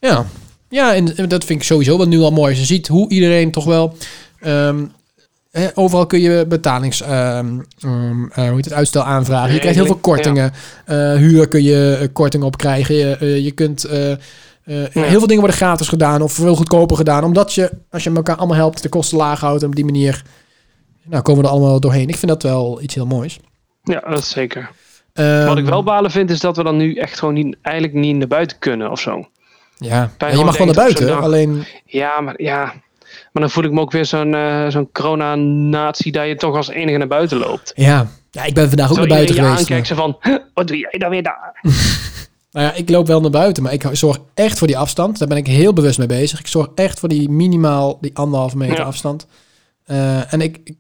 Ja, ja en en dat vind ik sowieso wel nu al mooi. Als je ziet hoe iedereen toch wel... ehm, hè, overal kun je betalings... ehm, ehm, eh, hoe heet het, uitstel aanvragen. Je krijgt heel veel
Regeling,
kortingen. Eh, huur kun je eh, korting op krijgen. Je, eh, je kunt... eh, eh, Heel veel dingen worden gratis gedaan of veel goedkoper gedaan. Omdat je, als je elkaar allemaal helpt, de kosten laag houdt. En op die manier nou, komen we er allemaal doorheen. Ik vind dat wel iets heel moois.
Ja, dat is zeker.
Ehm,
Wat ik wel balen vind, is dat we dan nu echt gewoon niet, eigenlijk niet naar buiten kunnen of zo.
Ja,
bij
Ja, je mag wel
gewoon denkt
naar
op zo'n
buiten.
dag.
Alleen...
Ja, maar ja. Maar dan voel ik me ook weer zo'n eh, zo'n corona-natie dat je toch als enige naar buiten loopt.
Ja. ja, ik ben vandaag ook
Zo
naar
iedereen je
buiten geweest. maar-
aankijkt ze van, "Huh, wat doe jij dan weer daar?
Nou ja, ik loop wel naar buiten, maar ik zorg echt voor die afstand. Daar ben ik heel bewust mee bezig. Ik zorg echt voor die minimaal die anderhalve meter
Ja.
afstand. Eh, en ik, ik-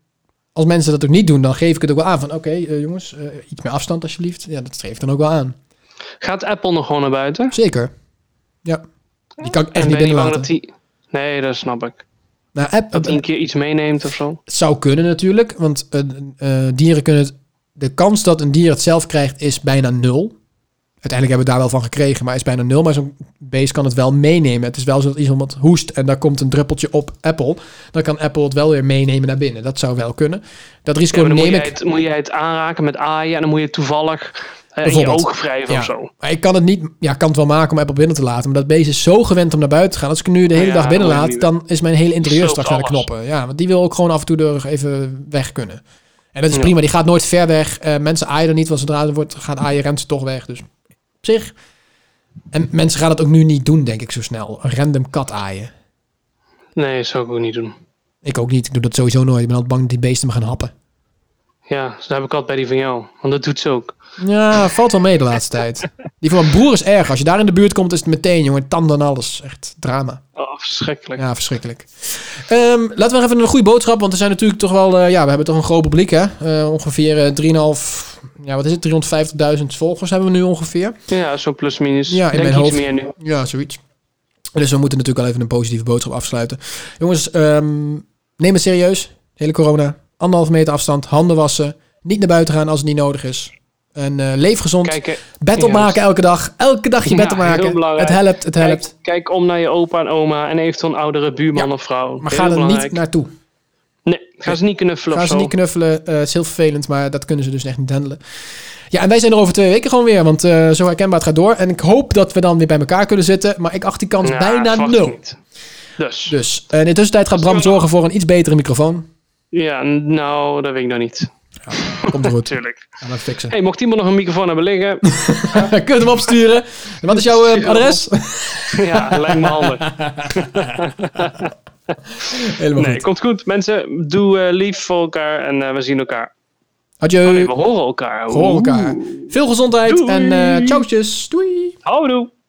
als mensen dat ook niet doen, dan geef ik het ook wel aan van... oké, eh, jongens, eh, iets meer afstand alsjeblieft. Ja, dat streef ik dan ook wel aan.
Gaat Apple nog gewoon naar buiten?
Zeker. Ja. Die kan ik echt
en
niet
ben je niet bang
binnenlaten.
dat die... Nee, dat snap ik.
Nou, app,
Dat die een keer iets meeneemt of zo.
het zou kunnen natuurlijk, want eh, eh, dieren kunnen het... De kans dat een dier het zelf krijgt is bijna nul. Uiteindelijk hebben we het daar wel van gekregen, maar is bijna nul. Maar zo'n beest kan het wel meenemen. Het is wel zo dat iemand hoest en daar komt een druppeltje op Apple. Dan kan Apple het wel weer meenemen naar binnen. Dat zou wel kunnen. Dat risico
Ja, maar dan moet
neem
jij,
ik.
het, moet jij het aanraken met aaien en dan moet je het toevallig eh, in je
Bijvoorbeeld.
oog wrijven
Ja.
of zo.
Maar ik kan het niet, ja, ik kan het wel maken om Apple binnen te laten. Maar dat beest is zo gewend om naar buiten te gaan. Als ik hem nu de hele
Ja,
dag binnen
dat moet
laat,
je
dan is mijn hele interieur
Sloopt
straks naar de
alles.
knoppen. Ja, want die wil ook gewoon af en toe er even weg kunnen. En dat is
Ja.
prima. Die gaat nooit ver weg. Eh, mensen aaien er niet, want zodra er wordt gaan aaien, rent ze toch weg. Dus op zich. En mensen gaan dat ook nu niet doen, denk ik, zo snel. Een random kat aaien.
Nee, dat zou ik ook niet doen.
Ik ook niet. Ik doe dat sowieso nooit. Ik ben altijd bang dat die beesten me gaan happen.
Ja, dus daar heb ik altijd bij die van jou. Want dat doet ze ook.
Ja, valt wel mee de laatste tijd. Die van mijn broer is erg. Als je daar in de buurt komt, is het meteen, jongen. Tanden en alles. Echt drama.
Oh, verschrikkelijk.
Ja, verschrikkelijk. Ehm, laten we nog even een goede boodschap, want er zijn natuurlijk toch wel... eh, ja, we hebben toch een groot publiek, hè? Eh, ongeveer eh 3,5... Ja, wat is het? 350.000 volgers hebben we nu ongeveer.
Ja, zo plus minus.
Ja, in
Denk
mijn
iets
hoofd.
meer nu.
Ja, zoiets. Dus we moeten natuurlijk al even een positieve boodschap afsluiten. Jongens, ehm, neem het serieus. Hele corona. Anderhalve meter afstand. Handen wassen. Niet naar buiten gaan als het niet nodig is. En eh, leef gezond.
Kijken,
bed
juist.
opmaken elke dag. Elke dag je bed
Ja, heel
opmaken.
belangrijk.
Het helpt, het helpt.
kijk, kijk om naar je opa en oma en eventueel een oudere buurman
Ja,
of vrouw.
maar
Heel
ga er niet
belangrijk.
naartoe.
Nee, ga ze niet knuffelen
Gaan
of
ze
zo.
niet knuffelen. eh, het is heel vervelend, maar dat kunnen ze dus echt niet handelen. Ja, en wij zijn er over twee weken gewoon weer, want eh, zo herkenbaar het gaat door. En ik hoop dat we dan weer bij elkaar kunnen zitten, maar ik acht die kans
Ja,
bijna
verwacht
nul.
ik niet. Dus,
Dus eh, in de tussentijd gaat Bram zorgen voor een iets betere microfoon.
ja, nou, dat weet ik nog niet.
Komt er goed.
Natuurlijk.
Gaan we fixen.
hey, mocht iemand nog een microfoon hebben liggen,
Kun je hem opsturen? En wat is jouw eh, adres?
ja, lijkt me handig.
Helemaal
Nee,
goed.
komt goed. Mensen, doe eh, lief voor elkaar en eh, we zien elkaar.
Adieu.
Oh nee, we horen elkaar.
Voor elkaar. Veel gezondheid
Doei.
en eh ciao. tjus. Doei.
Houdoe.